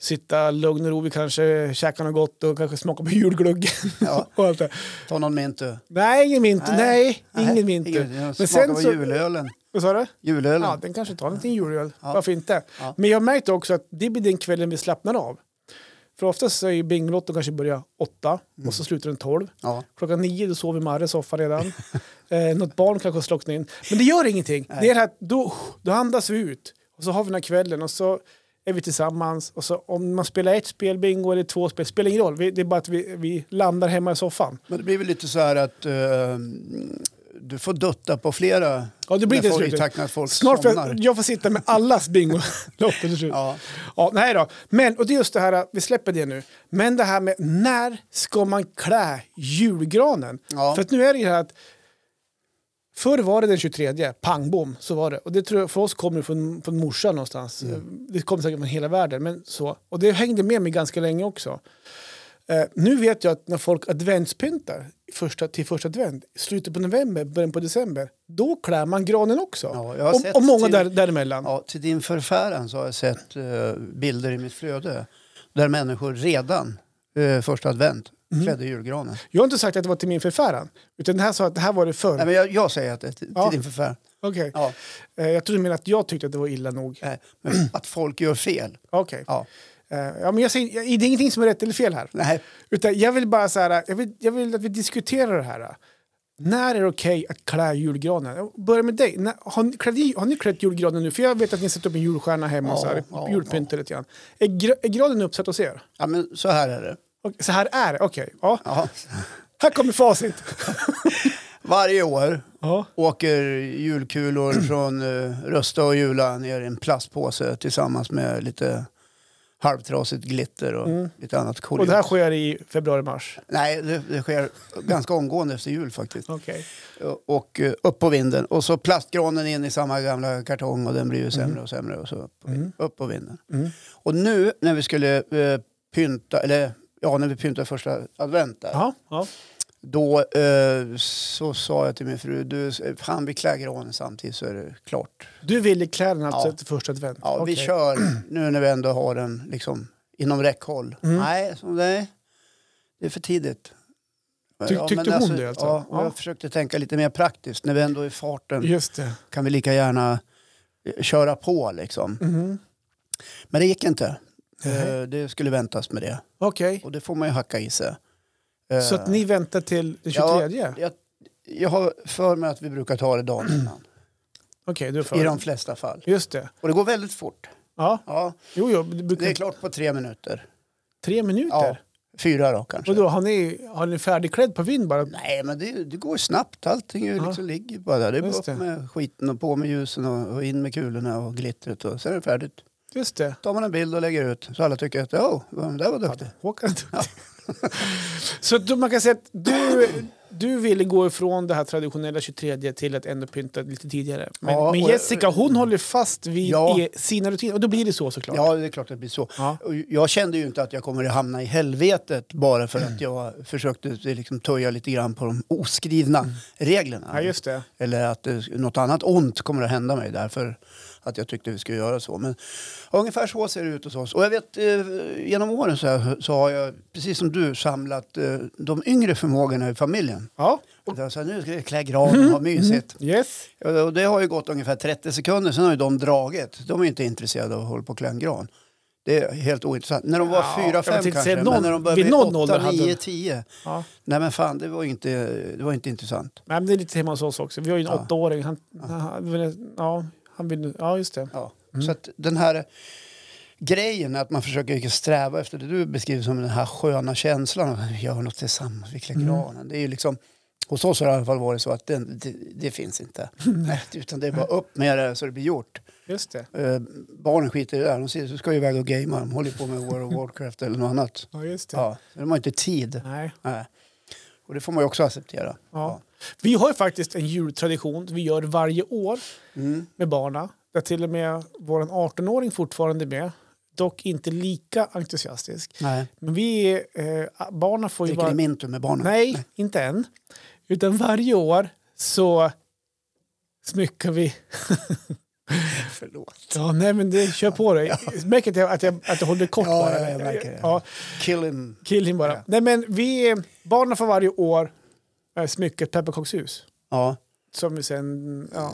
[SPEAKER 2] sitta lugn och ro, vi kanske käkar något gott och kanske smaka på julgluggen.
[SPEAKER 1] Ja.
[SPEAKER 2] och allt det.
[SPEAKER 1] Ta någon mint du.
[SPEAKER 2] Nej, ingen vinter. Nej, ingen
[SPEAKER 1] Men
[SPEAKER 2] vinter.
[SPEAKER 1] sen Smaka på julölen.
[SPEAKER 2] Vad sa du?
[SPEAKER 1] Julölen.
[SPEAKER 2] Ja, den kanske tar en liten julöl.
[SPEAKER 1] Ja.
[SPEAKER 2] Varför inte?
[SPEAKER 1] Ja.
[SPEAKER 2] Men jag märkte också att det blir den kvällen vi slappnar av. För oftast så är ju Bingolotto kanske börjar åtta och
[SPEAKER 1] Mm.
[SPEAKER 2] så slutar den tolv.
[SPEAKER 1] Ja.
[SPEAKER 2] Klockan nio då sover Marre i soffan redan. eh, något barn kanske har slocknat in. Men det gör ingenting. Det är det här, att då, då andas vi ut. Och så har vi den här kvällen och så är vi tillsammans. Och så om man spelar ett spel bingo eller två spel, spelar ingen roll. Vi, det är bara att vi, vi landar hemma i soffan.
[SPEAKER 1] Men det blir väl lite så här att eh, du får dutta på flera.
[SPEAKER 2] Ja, det blir
[SPEAKER 1] när
[SPEAKER 2] det i
[SPEAKER 1] folk- I
[SPEAKER 2] slutet.
[SPEAKER 1] takt med att folk
[SPEAKER 2] Snart får
[SPEAKER 1] somnar.
[SPEAKER 2] jag, jag får sitta med allas bingolotter till slut.
[SPEAKER 1] Ja.
[SPEAKER 2] Ja, nej då. Men, och det är just det här, äh, vi släpper det nu. Men det här med när ska man klä julgranen?
[SPEAKER 1] Ja.
[SPEAKER 2] För att nu är det ju här att förr var det den 23, pang bom, så var det. Och det tror jag för oss kommer det från, från morsan någonstans.
[SPEAKER 1] Mm.
[SPEAKER 2] Det kommer säkert från hela världen, men så. Och det hängde med mig ganska länge också. Eh, nu vet jag att när folk adventspyntar första, till första advent, slutet på november, början på december, då klär man granen också.
[SPEAKER 1] Ja, jag har
[SPEAKER 2] och,
[SPEAKER 1] sett
[SPEAKER 2] och många
[SPEAKER 1] till-
[SPEAKER 2] där, däremellan.
[SPEAKER 1] Ja, till din förfäran så har jag sett eh, bilder i mitt flöde där människor redan eh, första advent
[SPEAKER 2] Mm.
[SPEAKER 1] klädde julgranen.
[SPEAKER 2] Jag har inte sagt att det var till min förfäran, utan det här sa att det här var det förr.
[SPEAKER 1] Nej, men jag, jag säger att det är till,
[SPEAKER 2] Ja.
[SPEAKER 1] till din förfäran.
[SPEAKER 2] Okej.
[SPEAKER 1] Ja,
[SPEAKER 2] Eh, Jag trodde mer att jag tyckte att det var illa nog.
[SPEAKER 1] nej, Eh, men att folk gör fel.
[SPEAKER 2] Okej.
[SPEAKER 1] Ja.
[SPEAKER 2] Eh, Ja, men jag säger, jag- det är ingenting som är rätt eller fel här.
[SPEAKER 1] Nej,
[SPEAKER 2] Utan jag vill bara så här, jag vill, jag vill att vi diskuterar det här. När är det okej att klä julgranen? Jag Börjar med dig. När, har, ni klätt, i- har ni klätt julgranen nu? För jag vet att ni sätter upp en julstjärna hemma och så här,
[SPEAKER 1] Ja, ja,
[SPEAKER 2] julpyntar lite grann. Är, gra- är granen uppsatt hos er?
[SPEAKER 1] ja, men så här är det.
[SPEAKER 2] Och, så här är det? Okej. Ja.
[SPEAKER 1] Ja.
[SPEAKER 2] Här kommer facit.
[SPEAKER 1] Varje år
[SPEAKER 2] Ja.
[SPEAKER 1] åker julkulor från eh, Rösta och Jula ner i en plastpåse tillsammans med lite halvtrasigt glitter och
[SPEAKER 2] Mm.
[SPEAKER 1] lite annat coolt.
[SPEAKER 2] Och det här sker i februari-mars?
[SPEAKER 1] Nej, det, det sker ganska omgående efter jul faktiskt.
[SPEAKER 2] Okej.
[SPEAKER 1] Och eh, upp på vinden. Och så plastgranen in i samma gamla kartong och den blir ju sämre och sämre. Och så upp, på-
[SPEAKER 2] Mm.
[SPEAKER 1] upp på vinden.
[SPEAKER 2] Mm.
[SPEAKER 1] Och nu när vi skulle eh, pynta, eller ja, när vi pyntade första advent där.
[SPEAKER 2] Ja, ja.
[SPEAKER 1] Då eh, så sa jag till min fru, du, fan vi klär granen samtidigt så är det klart.
[SPEAKER 2] Du ville kläderna
[SPEAKER 1] Ja.
[SPEAKER 2] alltså till första advent?
[SPEAKER 1] Ja, vi
[SPEAKER 2] Okej.
[SPEAKER 1] kör nu när vi ändå har den liksom inom räckhåll.
[SPEAKER 2] Mm.
[SPEAKER 1] Nej, så, nej, det är för tidigt.
[SPEAKER 2] Ty-
[SPEAKER 1] men
[SPEAKER 2] tyckte hon det alltså?
[SPEAKER 1] Ja, och
[SPEAKER 2] Ja.
[SPEAKER 1] jag försökte tänka lite mer praktiskt. När vi ändå är i farten
[SPEAKER 2] Just det.
[SPEAKER 1] kan vi lika gärna eh, köra på liksom.
[SPEAKER 2] Mhm.
[SPEAKER 1] Men det gick inte.
[SPEAKER 2] Nej.
[SPEAKER 1] Eh, Det skulle väntas med det.
[SPEAKER 2] Okej.
[SPEAKER 1] Och det får man ju hacka i sig.
[SPEAKER 2] Så
[SPEAKER 1] Eh,
[SPEAKER 2] att ni väntar till
[SPEAKER 1] Ja.
[SPEAKER 2] den 23? Okej,
[SPEAKER 1] jag, jag har för mig att vi brukar ta det dagen innan.
[SPEAKER 2] du är
[SPEAKER 1] I
[SPEAKER 2] för.
[SPEAKER 1] de flesta fall.
[SPEAKER 2] Just det.
[SPEAKER 1] Och det går väldigt fort.
[SPEAKER 2] Ja,
[SPEAKER 1] Ja,
[SPEAKER 2] jo, jo. Det brukar...
[SPEAKER 1] det är klart på tre minuter.
[SPEAKER 2] Tre
[SPEAKER 1] Ja,
[SPEAKER 2] minuter?
[SPEAKER 1] fyra då
[SPEAKER 2] Och
[SPEAKER 1] kanske.
[SPEAKER 2] då har ni, har ni färdigklädd på vind bara?
[SPEAKER 1] Nej, men det, det går snabbt. Allting är ju
[SPEAKER 2] Ja.
[SPEAKER 1] liksom ligger bara där. Det är bara
[SPEAKER 2] Just
[SPEAKER 1] upp
[SPEAKER 2] det.
[SPEAKER 1] med skiten och på med ljusen och, och in med kulorna och glittret och sen är det färdigt.
[SPEAKER 2] Just det.
[SPEAKER 1] Tar man en bild och lägger ut så alla tycker att åh, den där var duktig.
[SPEAKER 2] Håkan är duktig. Så då, man kan säga att du, du ville gå ifrån det här traditionella 23 till att ändå pynta lite tidigare. Men,
[SPEAKER 1] Ja,
[SPEAKER 2] men
[SPEAKER 1] och-
[SPEAKER 2] Jessica hon håller fast vid
[SPEAKER 1] Ja.
[SPEAKER 2] e- sina rutiner och då blir det så såklart.
[SPEAKER 1] Ja, det är klart att det blir så.
[SPEAKER 2] Ja.
[SPEAKER 1] Och jag kände ju inte att jag kommer att hamna i helvetet bara för att jag försökte liksom töja lite grann på de oskrivna reglerna.
[SPEAKER 2] Mm. Ja, just det.
[SPEAKER 1] Eller att det, något annat ont kommer att hända mig därför att jag tyckte vi skulle göra så. Men ungefär så ser det ut hos oss. Och jag vet, eh, genom åren så, här, så har jag, precis som du, samlat eh, de yngre förmågorna i familjen.
[SPEAKER 2] Ja.
[SPEAKER 1] Jag sa, nu ska vi klä granen
[SPEAKER 2] Mm.
[SPEAKER 1] och ha mysigt.
[SPEAKER 2] Yes.
[SPEAKER 1] Ja, Och det har ju gått ungefär 30 sekunder, sen har ju de dragit. De är inte intresserade av att hålla på och klä en gran. Det är helt ointressant. När de var
[SPEAKER 2] Ja,
[SPEAKER 1] fyra
[SPEAKER 2] jag
[SPEAKER 1] fem
[SPEAKER 2] tänkte
[SPEAKER 1] kanske,
[SPEAKER 2] säga, någon-
[SPEAKER 1] men när de började
[SPEAKER 2] vid
[SPEAKER 1] bli
[SPEAKER 2] någon ålder
[SPEAKER 1] åtta
[SPEAKER 2] hade
[SPEAKER 1] nio
[SPEAKER 2] de-
[SPEAKER 1] tio
[SPEAKER 2] Ja.
[SPEAKER 1] Nej men fan, det var inte, det var inte intressant.
[SPEAKER 2] Nej, men det är lite hemma hos oss också. Vi har ju en
[SPEAKER 1] Ja.
[SPEAKER 2] åttaåring. Han, han, ja, han vill, ja, Mm. just det.
[SPEAKER 1] Ja. Så att den här grejen att man försöker sträva efter det du beskriver som den här sköna känslan av vi gör något tillsammans, vi klär
[SPEAKER 2] Mm.
[SPEAKER 1] granen. Det är ju liksom, hos oss har det i alla fall varit så att den, det, det finns inte.
[SPEAKER 2] Mm.
[SPEAKER 1] Utan det är bara upp med det så det blir gjort.
[SPEAKER 2] Just det.
[SPEAKER 1] Eh, barnen skiter i det där, de ser- ska ju iväg och gamea, de håller på med World of Warcraft eller något annat.
[SPEAKER 2] Ja, just det.
[SPEAKER 1] Ja, så de har inte tid.
[SPEAKER 2] Nej.
[SPEAKER 1] Nej. Och det får man ju också acceptera.
[SPEAKER 2] Ja. Vi har ju faktiskt en jultradition vi gör varje år
[SPEAKER 1] Mm.
[SPEAKER 2] med barna. Där till och med vår 18-åring fortfarande är med. Dock inte lika entusiastisk.
[SPEAKER 1] Nej,
[SPEAKER 2] Men vi, eh, barnen får ju
[SPEAKER 1] dricker
[SPEAKER 2] vara...
[SPEAKER 1] ni mint med barnen?
[SPEAKER 2] Nej, inte än. Utan varje år så smyckar vi...
[SPEAKER 1] Förlåt.
[SPEAKER 2] Ja, nej men det, kör på dig. Märker att jag, att jag, att jag håller kort
[SPEAKER 1] Ja,
[SPEAKER 2] bara?
[SPEAKER 1] ja, jag märker det.
[SPEAKER 2] Ja,
[SPEAKER 1] Kill him.
[SPEAKER 2] kill him bara.
[SPEAKER 1] Ja.
[SPEAKER 2] Nej men vi, barnen får varje år eh, smycka ett pepparkakshus.
[SPEAKER 1] Ja.
[SPEAKER 2] Som vi sen, ja,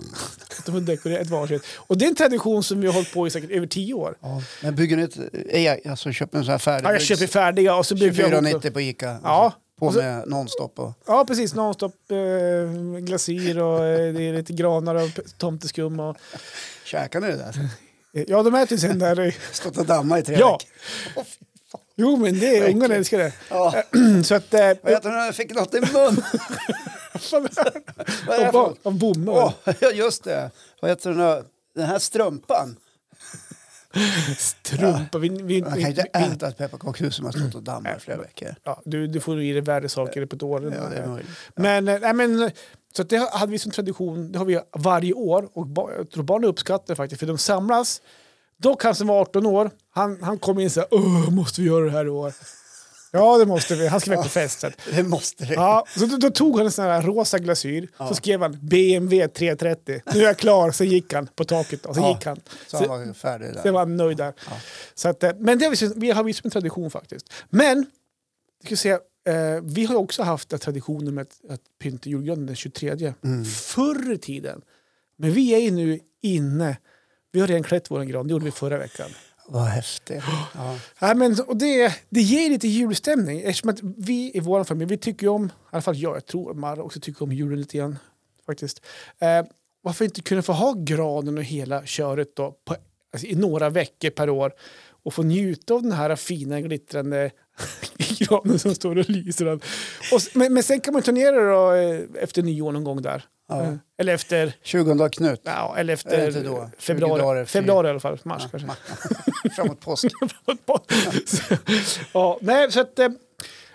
[SPEAKER 2] de har dekorerat ett varsitt. Och det är en tradition som vi har hållit på i säkert över tio år.
[SPEAKER 1] Ja, men bygger ni ett... eh, Jag, alltså köper en sån här färdig...
[SPEAKER 2] Ja, jag köper färdiga och så bygger jag ihop
[SPEAKER 1] 24,90
[SPEAKER 2] dem.
[SPEAKER 1] på Ica.
[SPEAKER 2] Ja,
[SPEAKER 1] Och
[SPEAKER 2] Alltså-
[SPEAKER 1] så På
[SPEAKER 2] och så-
[SPEAKER 1] med nonstop och...
[SPEAKER 2] Ja, precis. Nonstop eh, glasyr och eh, det är lite granar och p- tomteskum. Och,
[SPEAKER 1] Käkar ni det där?
[SPEAKER 2] eh, ja, de äter ju sen där. eh,
[SPEAKER 1] Stått och dammat i tre
[SPEAKER 2] Ja,
[SPEAKER 1] veckor. Åh, fy fan.
[SPEAKER 2] jo men det är
[SPEAKER 1] Verkligen.
[SPEAKER 2] ungarna älskar det.
[SPEAKER 1] Ja,
[SPEAKER 2] Så att... Eh,
[SPEAKER 1] vad heter det när jag fick något i mun? Vad är det här för något?
[SPEAKER 2] av, av bomull.
[SPEAKER 1] Åh, ja, just det. Vad heter den här, den här strumpan?
[SPEAKER 2] Strumpa. Vi, vi, vi,
[SPEAKER 1] Man kan ju inte
[SPEAKER 2] vi,
[SPEAKER 1] äta ett pepparkakshus som har stått och dammat i flera
[SPEAKER 2] Mm.
[SPEAKER 1] veckår.
[SPEAKER 2] ja, du, du får nog i dig värre saker på ett år.
[SPEAKER 1] Ja, det är möjligt.
[SPEAKER 2] Men, eh, nej, men, så att det hade vi som tradition, det har vi varje år. Och ba, jag tror barnen uppskattar det faktiskt, för de samlas. Dock han som var 18 år, han, han kom in så här, "Åh, måste vi göra det här i år? Ja, det måste vi. Han ska iväg på fest. så att-
[SPEAKER 1] Det måste det.
[SPEAKER 2] Ja, så då, då tog han en sån här rosa glasyr, så skrev han BMW 330. Nu är jag klar, sen gick han på taket. Och sen
[SPEAKER 1] Ja.
[SPEAKER 2] gick han.
[SPEAKER 1] Så han var färdig där.
[SPEAKER 2] Det var han nöjd där. Så att, eh, men det har vi, som- vi har vi som en tradition faktiskt. Men jag ska säga, eh, vi har ju också haft den traditionen med att, att pynta julgranen den 23. Förr i tiden. Men vi är ju nu inne. Vi har redan klätt vår gran, det gjorde vi förra veckan.
[SPEAKER 1] Vad häftigt. Ja.
[SPEAKER 2] Ja, men, och det, det ger lite julstämning eftersom att vi i vår familj, vi tycker ju om, i alla fall jag, jag tror Mara också tycker om julen lite grann faktiskt. Eh, varför inte kunna få ha granen och hela köret då på, alltså, i några veckor per år och få njuta av den här fina glittrande granen som står och lyser. Och, s- men, men sen kan man turnera då eh, efter nyår någon gång där.
[SPEAKER 1] Ja.
[SPEAKER 2] Eh, Eller efter,
[SPEAKER 1] 20 dagar Knut.
[SPEAKER 2] ja, eller
[SPEAKER 1] Är det
[SPEAKER 2] efter
[SPEAKER 1] inte då? 20 dagar
[SPEAKER 2] februari,
[SPEAKER 1] efter-
[SPEAKER 2] februari i alla fall, mars
[SPEAKER 1] Ja,
[SPEAKER 2] kanske.
[SPEAKER 1] ma- Framåt påsk.
[SPEAKER 2] Så- ja, nej, så att, eh,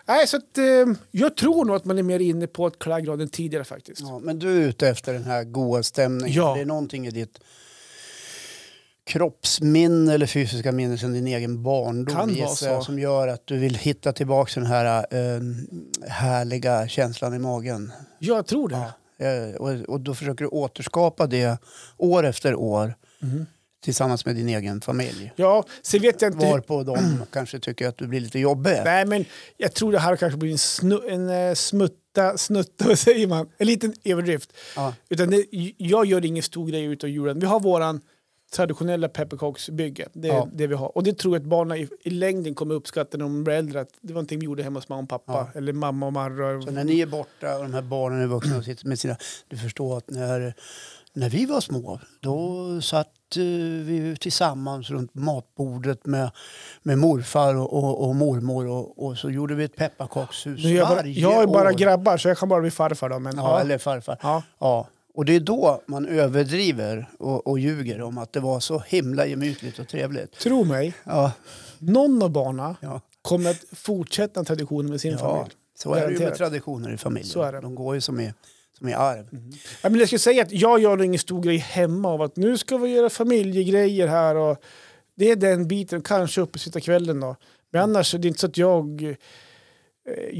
[SPEAKER 2] nej, så att, eh, jag tror nog att man är mer inne på ett klaggraden tidigare faktiskt.
[SPEAKER 1] Ja, men du är ute efter den här goa stämningen.
[SPEAKER 2] Ja.
[SPEAKER 1] Det är någonting i ditt kroppsminne eller fysiska minne sedan din egen barndom
[SPEAKER 2] Kan vara
[SPEAKER 1] gissar jag,
[SPEAKER 2] så.
[SPEAKER 1] som gör att du vill hitta tillbaka den här eh, härliga känslan i magen.
[SPEAKER 2] Jag tror det.
[SPEAKER 1] Eh, och, och då försöker du återskapa det år efter år
[SPEAKER 2] Mhm.
[SPEAKER 1] tillsammans med din egen familj.
[SPEAKER 2] Ja, sen vet jag inte.
[SPEAKER 1] Varpå de kanske tycker att du blir lite jobbig.
[SPEAKER 2] Nej, men jag tror det här kanske blir en, snu, en eh, smutta, snutta, vad säger man? En liten överdrift.
[SPEAKER 1] Ja.
[SPEAKER 2] Utan det, jag gör ingen stor grej utav julen. Vi har våran traditionella pepparkaksbygge. Det, är
[SPEAKER 1] Ja.
[SPEAKER 2] det vi har. Och det tror jag att barnen i, i längden kommer uppskatta när de blir äldre. Att det var någonting vi gjorde hemma hos mamma och pappa. Eller mamma och marra.
[SPEAKER 1] Så när ni är borta och de här barnen är vuxna och sitter med sina... Du förstår att när, när vi var små då satt eh, vi tillsammans runt matbordet med, med morfar och, och, och mormor och, och så gjorde vi ett pepparkakshus
[SPEAKER 2] Nu är jag, bara,
[SPEAKER 1] varje
[SPEAKER 2] jag är bara
[SPEAKER 1] år.
[SPEAKER 2] grabbar så jag kan bara bli farfar då. Men,
[SPEAKER 1] ja,
[SPEAKER 2] ja,
[SPEAKER 1] Eller farfar.
[SPEAKER 2] ja.
[SPEAKER 1] Ja. Och det är då man överdriver och, och ljuger om att det var så himla gemytligt och trevligt.
[SPEAKER 2] Tro mig,
[SPEAKER 1] Ja,
[SPEAKER 2] någon av barnen
[SPEAKER 1] ja.
[SPEAKER 2] kommer att fortsätta traditionen med sin
[SPEAKER 1] ja.
[SPEAKER 2] familj.
[SPEAKER 1] Så är det ju med
[SPEAKER 2] Garanterat.
[SPEAKER 1] traditioner i familjen.
[SPEAKER 2] Så är det. Mm.
[SPEAKER 1] De går ju som i, som i arv.
[SPEAKER 2] Ja, men jag skulle säga att jag gör ingen stor grej hemma av att nu ska vi göra familjegrejer här och det är den biten, kanske uppe sitta kvällen då. Men annars är det inte så att jag eh,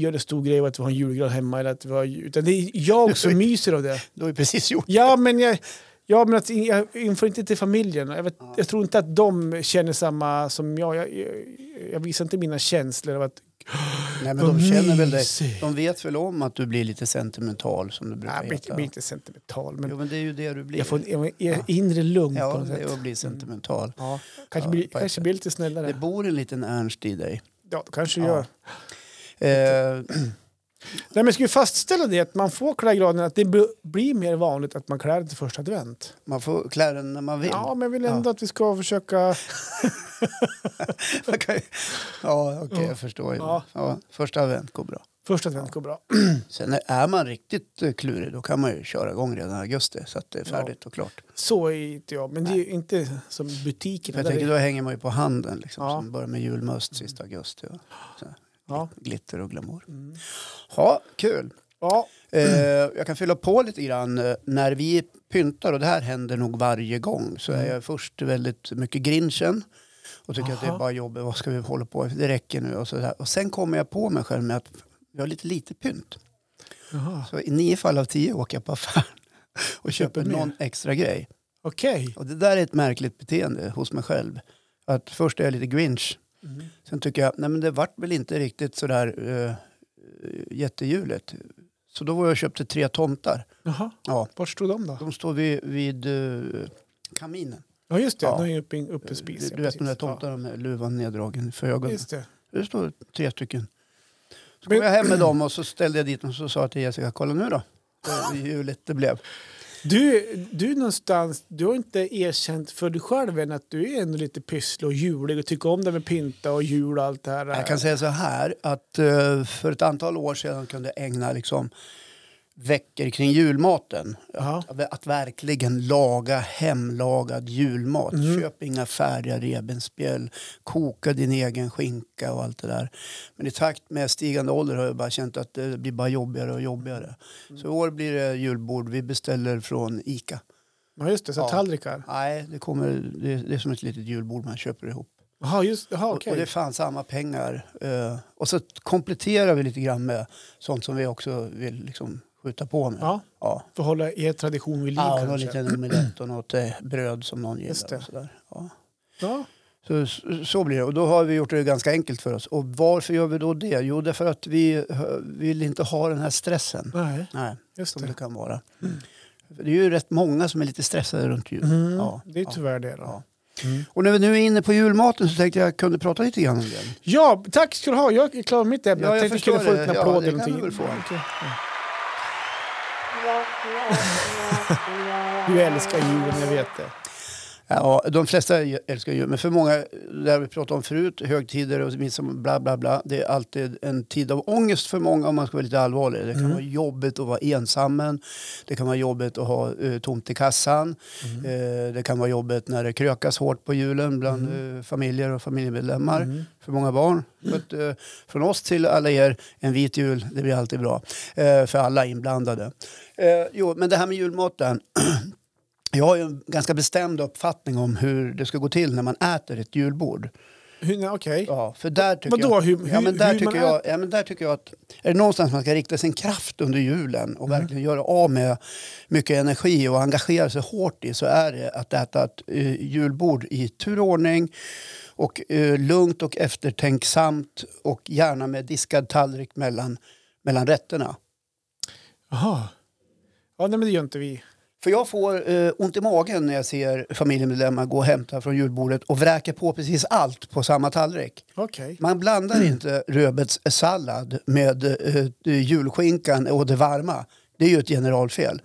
[SPEAKER 2] gör en stor grej av att vi har en julgran hemma eller att vi har, utan det är jag som myser av det.
[SPEAKER 1] Du har ju precis gjort
[SPEAKER 2] Ja, men jag, ja, men att, in- jag inför inte till familjen. Jag, vet, jag tror inte att de känner samma som jag. Jag, jag, jag visar inte mina känslor av att
[SPEAKER 1] Nej, men
[SPEAKER 2] Vad
[SPEAKER 1] de känner väl dig.
[SPEAKER 2] mysigt.
[SPEAKER 1] De vet väl om att du blir lite sentimental som du brukar
[SPEAKER 2] nej, men
[SPEAKER 1] heta.
[SPEAKER 2] jag blir inte sentimental, men
[SPEAKER 1] Jo, men det är ju det du blir.
[SPEAKER 2] jag får en, en, inre lugn på
[SPEAKER 1] ja, det
[SPEAKER 2] något sätt. Mm.
[SPEAKER 1] är att bli sentimental.
[SPEAKER 2] Ja, kanske,
[SPEAKER 1] Ja,
[SPEAKER 2] blir,
[SPEAKER 1] på ett
[SPEAKER 2] kanske
[SPEAKER 1] sätt.
[SPEAKER 2] blir lite snällare.
[SPEAKER 1] Det bor en liten Ernst i dig.
[SPEAKER 2] Ja, det kanske
[SPEAKER 1] Ja.
[SPEAKER 2] gör.
[SPEAKER 1] Eh,
[SPEAKER 2] Nej, men ska vi fastställa det att man får klä granen, att det b- blir mer vanligt att man klär det till första advent?
[SPEAKER 1] man får klä den när man vill.
[SPEAKER 2] Ja,
[SPEAKER 1] Ja,
[SPEAKER 2] men jag vill ändå att vi ska försöka...
[SPEAKER 1] ja okej,
[SPEAKER 2] Ja.
[SPEAKER 1] jag förstår. ju.
[SPEAKER 2] Mm. Ja.
[SPEAKER 1] Ja, första advent går bra.
[SPEAKER 2] Första advent går bra.
[SPEAKER 1] Sen är man riktigt eh, klurig, då kan man ju köra igång redan i augusti så att det är
[SPEAKER 2] Ja.
[SPEAKER 1] färdigt och klart.
[SPEAKER 2] Så är inte jag, men det är ju inte som butiken.
[SPEAKER 1] Jag
[SPEAKER 2] där
[SPEAKER 1] tänker,
[SPEAKER 2] det-
[SPEAKER 1] då hänger man ju på handen, liksom,
[SPEAKER 2] Ja. Mm.
[SPEAKER 1] som börjar med julmust sista augusti. Och
[SPEAKER 2] ja.
[SPEAKER 1] glitter och glamour.
[SPEAKER 2] Mm.
[SPEAKER 1] Ja, kul.
[SPEAKER 2] ja,
[SPEAKER 1] Eh, jag kan fylla på lite grann. Eh, När vi pyntar, och det här händer nog varje gång, så
[SPEAKER 2] Mm.
[SPEAKER 1] är jag först väldigt mycket grinchen och tycker att det
[SPEAKER 2] Aha.
[SPEAKER 1] är bara jobbigt. Vad ska vi hålla på med? Det räcker nu. Och, så där. och sen kommer jag på mig själv med att vi har lite lite pynt.
[SPEAKER 2] Jaha.
[SPEAKER 1] Så i nio fall av tio åker jag på affären och köper
[SPEAKER 2] mer.
[SPEAKER 1] någon extra grej.
[SPEAKER 2] okej.
[SPEAKER 1] Och det där är ett märkligt beteende hos mig själv. Att först är jag lite grinch.
[SPEAKER 2] Mm.
[SPEAKER 1] Sen tycker jag, nej men det vart väl inte riktigt sådär uh, jättejuligt. Så då var jag och köpte tre tomtar.
[SPEAKER 2] Jaha,
[SPEAKER 1] Ja.
[SPEAKER 2] vart stod de då?
[SPEAKER 1] De står vid, vid eh, kaminen.
[SPEAKER 2] Ja, just det,
[SPEAKER 1] Ja.
[SPEAKER 2] de är ju uppe i uppe i spisen.
[SPEAKER 1] du, du vet
[SPEAKER 2] precis.
[SPEAKER 1] de där tomtarna med luvan neddragen för
[SPEAKER 2] Ja,
[SPEAKER 1] ögonen.
[SPEAKER 2] just det.
[SPEAKER 1] Det står tre stycken. Så
[SPEAKER 2] Men-
[SPEAKER 1] kom jag hem med dem och så ställde jag dit dem och så sa jag till Jessica, kolla nu då. Vad Juligt det blev.
[SPEAKER 2] Du, du någonstans, du har inte erkänt för dig själv än att du är ändå lite pysslig och julig och tycker om det med pynta och jul och allt det här.
[SPEAKER 1] Jag kan säga så här att eh, för ett antal år sedan kunde jag ägna liksom veckor kring julmaten.
[SPEAKER 2] Jaha.
[SPEAKER 1] Att verkligen laga hemlagad julmat.
[SPEAKER 2] Mm.
[SPEAKER 1] Köp inga färdiga revbensspjäll. Koka din egen skinka och allt det där. Men i takt med stigande ålder har jag bara känt att det blir bara jobbigare och jobbigare. Så i år blir det julbord. Vi beställer från Ica.
[SPEAKER 2] Ja, just det. Så
[SPEAKER 1] Ja.
[SPEAKER 2] tallrikar.
[SPEAKER 1] Nej, det, kommer, det, det är som ett litet julbord man köper ihop.
[SPEAKER 2] Jaha, just aha,
[SPEAKER 1] Och-
[SPEAKER 2] okej.
[SPEAKER 1] Och det fanns samma pengar. Eh, och så kompletterar vi lite grann med sånt som vi också vill liksom, skjuta på med.
[SPEAKER 2] Ja,
[SPEAKER 1] Ja.
[SPEAKER 2] för att hålla er tradition vid liv
[SPEAKER 1] Ja, och någon
[SPEAKER 2] kanske.
[SPEAKER 1] liten omelett och något eh, bröd som någon
[SPEAKER 2] Just
[SPEAKER 1] gillar.
[SPEAKER 2] det.
[SPEAKER 1] Och sådär. Ja.
[SPEAKER 2] Ja.
[SPEAKER 1] Så, så- så blir det. Och då har vi gjort det ganska enkelt för oss. Och varför gör vi då det? Jo, därför att vi eh, vill inte ha den här stressen.
[SPEAKER 2] Nej,
[SPEAKER 1] Nej,
[SPEAKER 2] just
[SPEAKER 1] som
[SPEAKER 2] det.
[SPEAKER 1] det kan vara. För Det är ju rätt många som är lite stressade runt jul.
[SPEAKER 2] Mm.
[SPEAKER 1] Ja,
[SPEAKER 2] det är
[SPEAKER 1] ja,
[SPEAKER 2] tyvärr det. Då. Ja.
[SPEAKER 1] ja. Och när vi nu är inne på julmaten så tänkte jag kunde prata lite grann om det.
[SPEAKER 2] tack ska du ha. Jag är klar med mitt ämne.
[SPEAKER 1] Ja, jag
[SPEAKER 2] tänkte
[SPEAKER 1] förstår
[SPEAKER 2] kunde få
[SPEAKER 1] det.
[SPEAKER 2] en
[SPEAKER 1] Ja,
[SPEAKER 2] applåd
[SPEAKER 1] det
[SPEAKER 2] eller
[SPEAKER 1] kan du
[SPEAKER 2] någonting.
[SPEAKER 1] väl få.
[SPEAKER 2] Okej. Du älskar julen, jag vet det.
[SPEAKER 1] Ja, de flesta älskar jul, men för många, där vi pratade om förut, högtider och midsommar, bla bla bla. Det är alltid en tid av ångest för många om man ska vara lite allvarlig. Det kan
[SPEAKER 2] Mm.
[SPEAKER 1] vara jobbigt att vara ensammen, det kan vara jobbigt att ha eh, tomt i kassan,
[SPEAKER 2] Mm.
[SPEAKER 1] eh, det kan vara jobbigt när det krökas hårt på julen bland eh, familjer och familjemedlemmar,
[SPEAKER 2] Mm.
[SPEAKER 1] för många barn. Så att, eh, från oss till alla er, en vit jul, det blir alltid bra eh, för alla inblandade. Eh, jo, men det här med julmaten. Jag har ju en ganska bestämd uppfattning om hur det ska gå till när man äter ett julbord.
[SPEAKER 2] Hur- nej, Okej.
[SPEAKER 1] Ja, för där tycker
[SPEAKER 2] Vadå,
[SPEAKER 1] jag,
[SPEAKER 2] hur-
[SPEAKER 1] ja, men
[SPEAKER 2] hur-
[SPEAKER 1] där
[SPEAKER 2] hur
[SPEAKER 1] tycker
[SPEAKER 2] man
[SPEAKER 1] jag, ja, men där tycker jag att är det någonstans man ska rikta sin kraft under julen och
[SPEAKER 2] Mm.
[SPEAKER 1] verkligen göra av med mycket energi och engagera sig hårt i så är det att äta ett eh, julbord i tur och ordning och eh, lugnt och eftertänksamt och gärna med diskad tallrik mellan, mellan rätterna.
[SPEAKER 2] Jaha. Ja, nej, men det gör inte vi.
[SPEAKER 1] För jag får eh, ont i magen när jag ser familjemedlemmar gå och hämta från julbordet och vräka på precis allt på samma tallrik.
[SPEAKER 2] Okej.
[SPEAKER 1] Man blandar inte rödbetssallad med eh, julskinkan och det varma. Det är ju ett generalfel.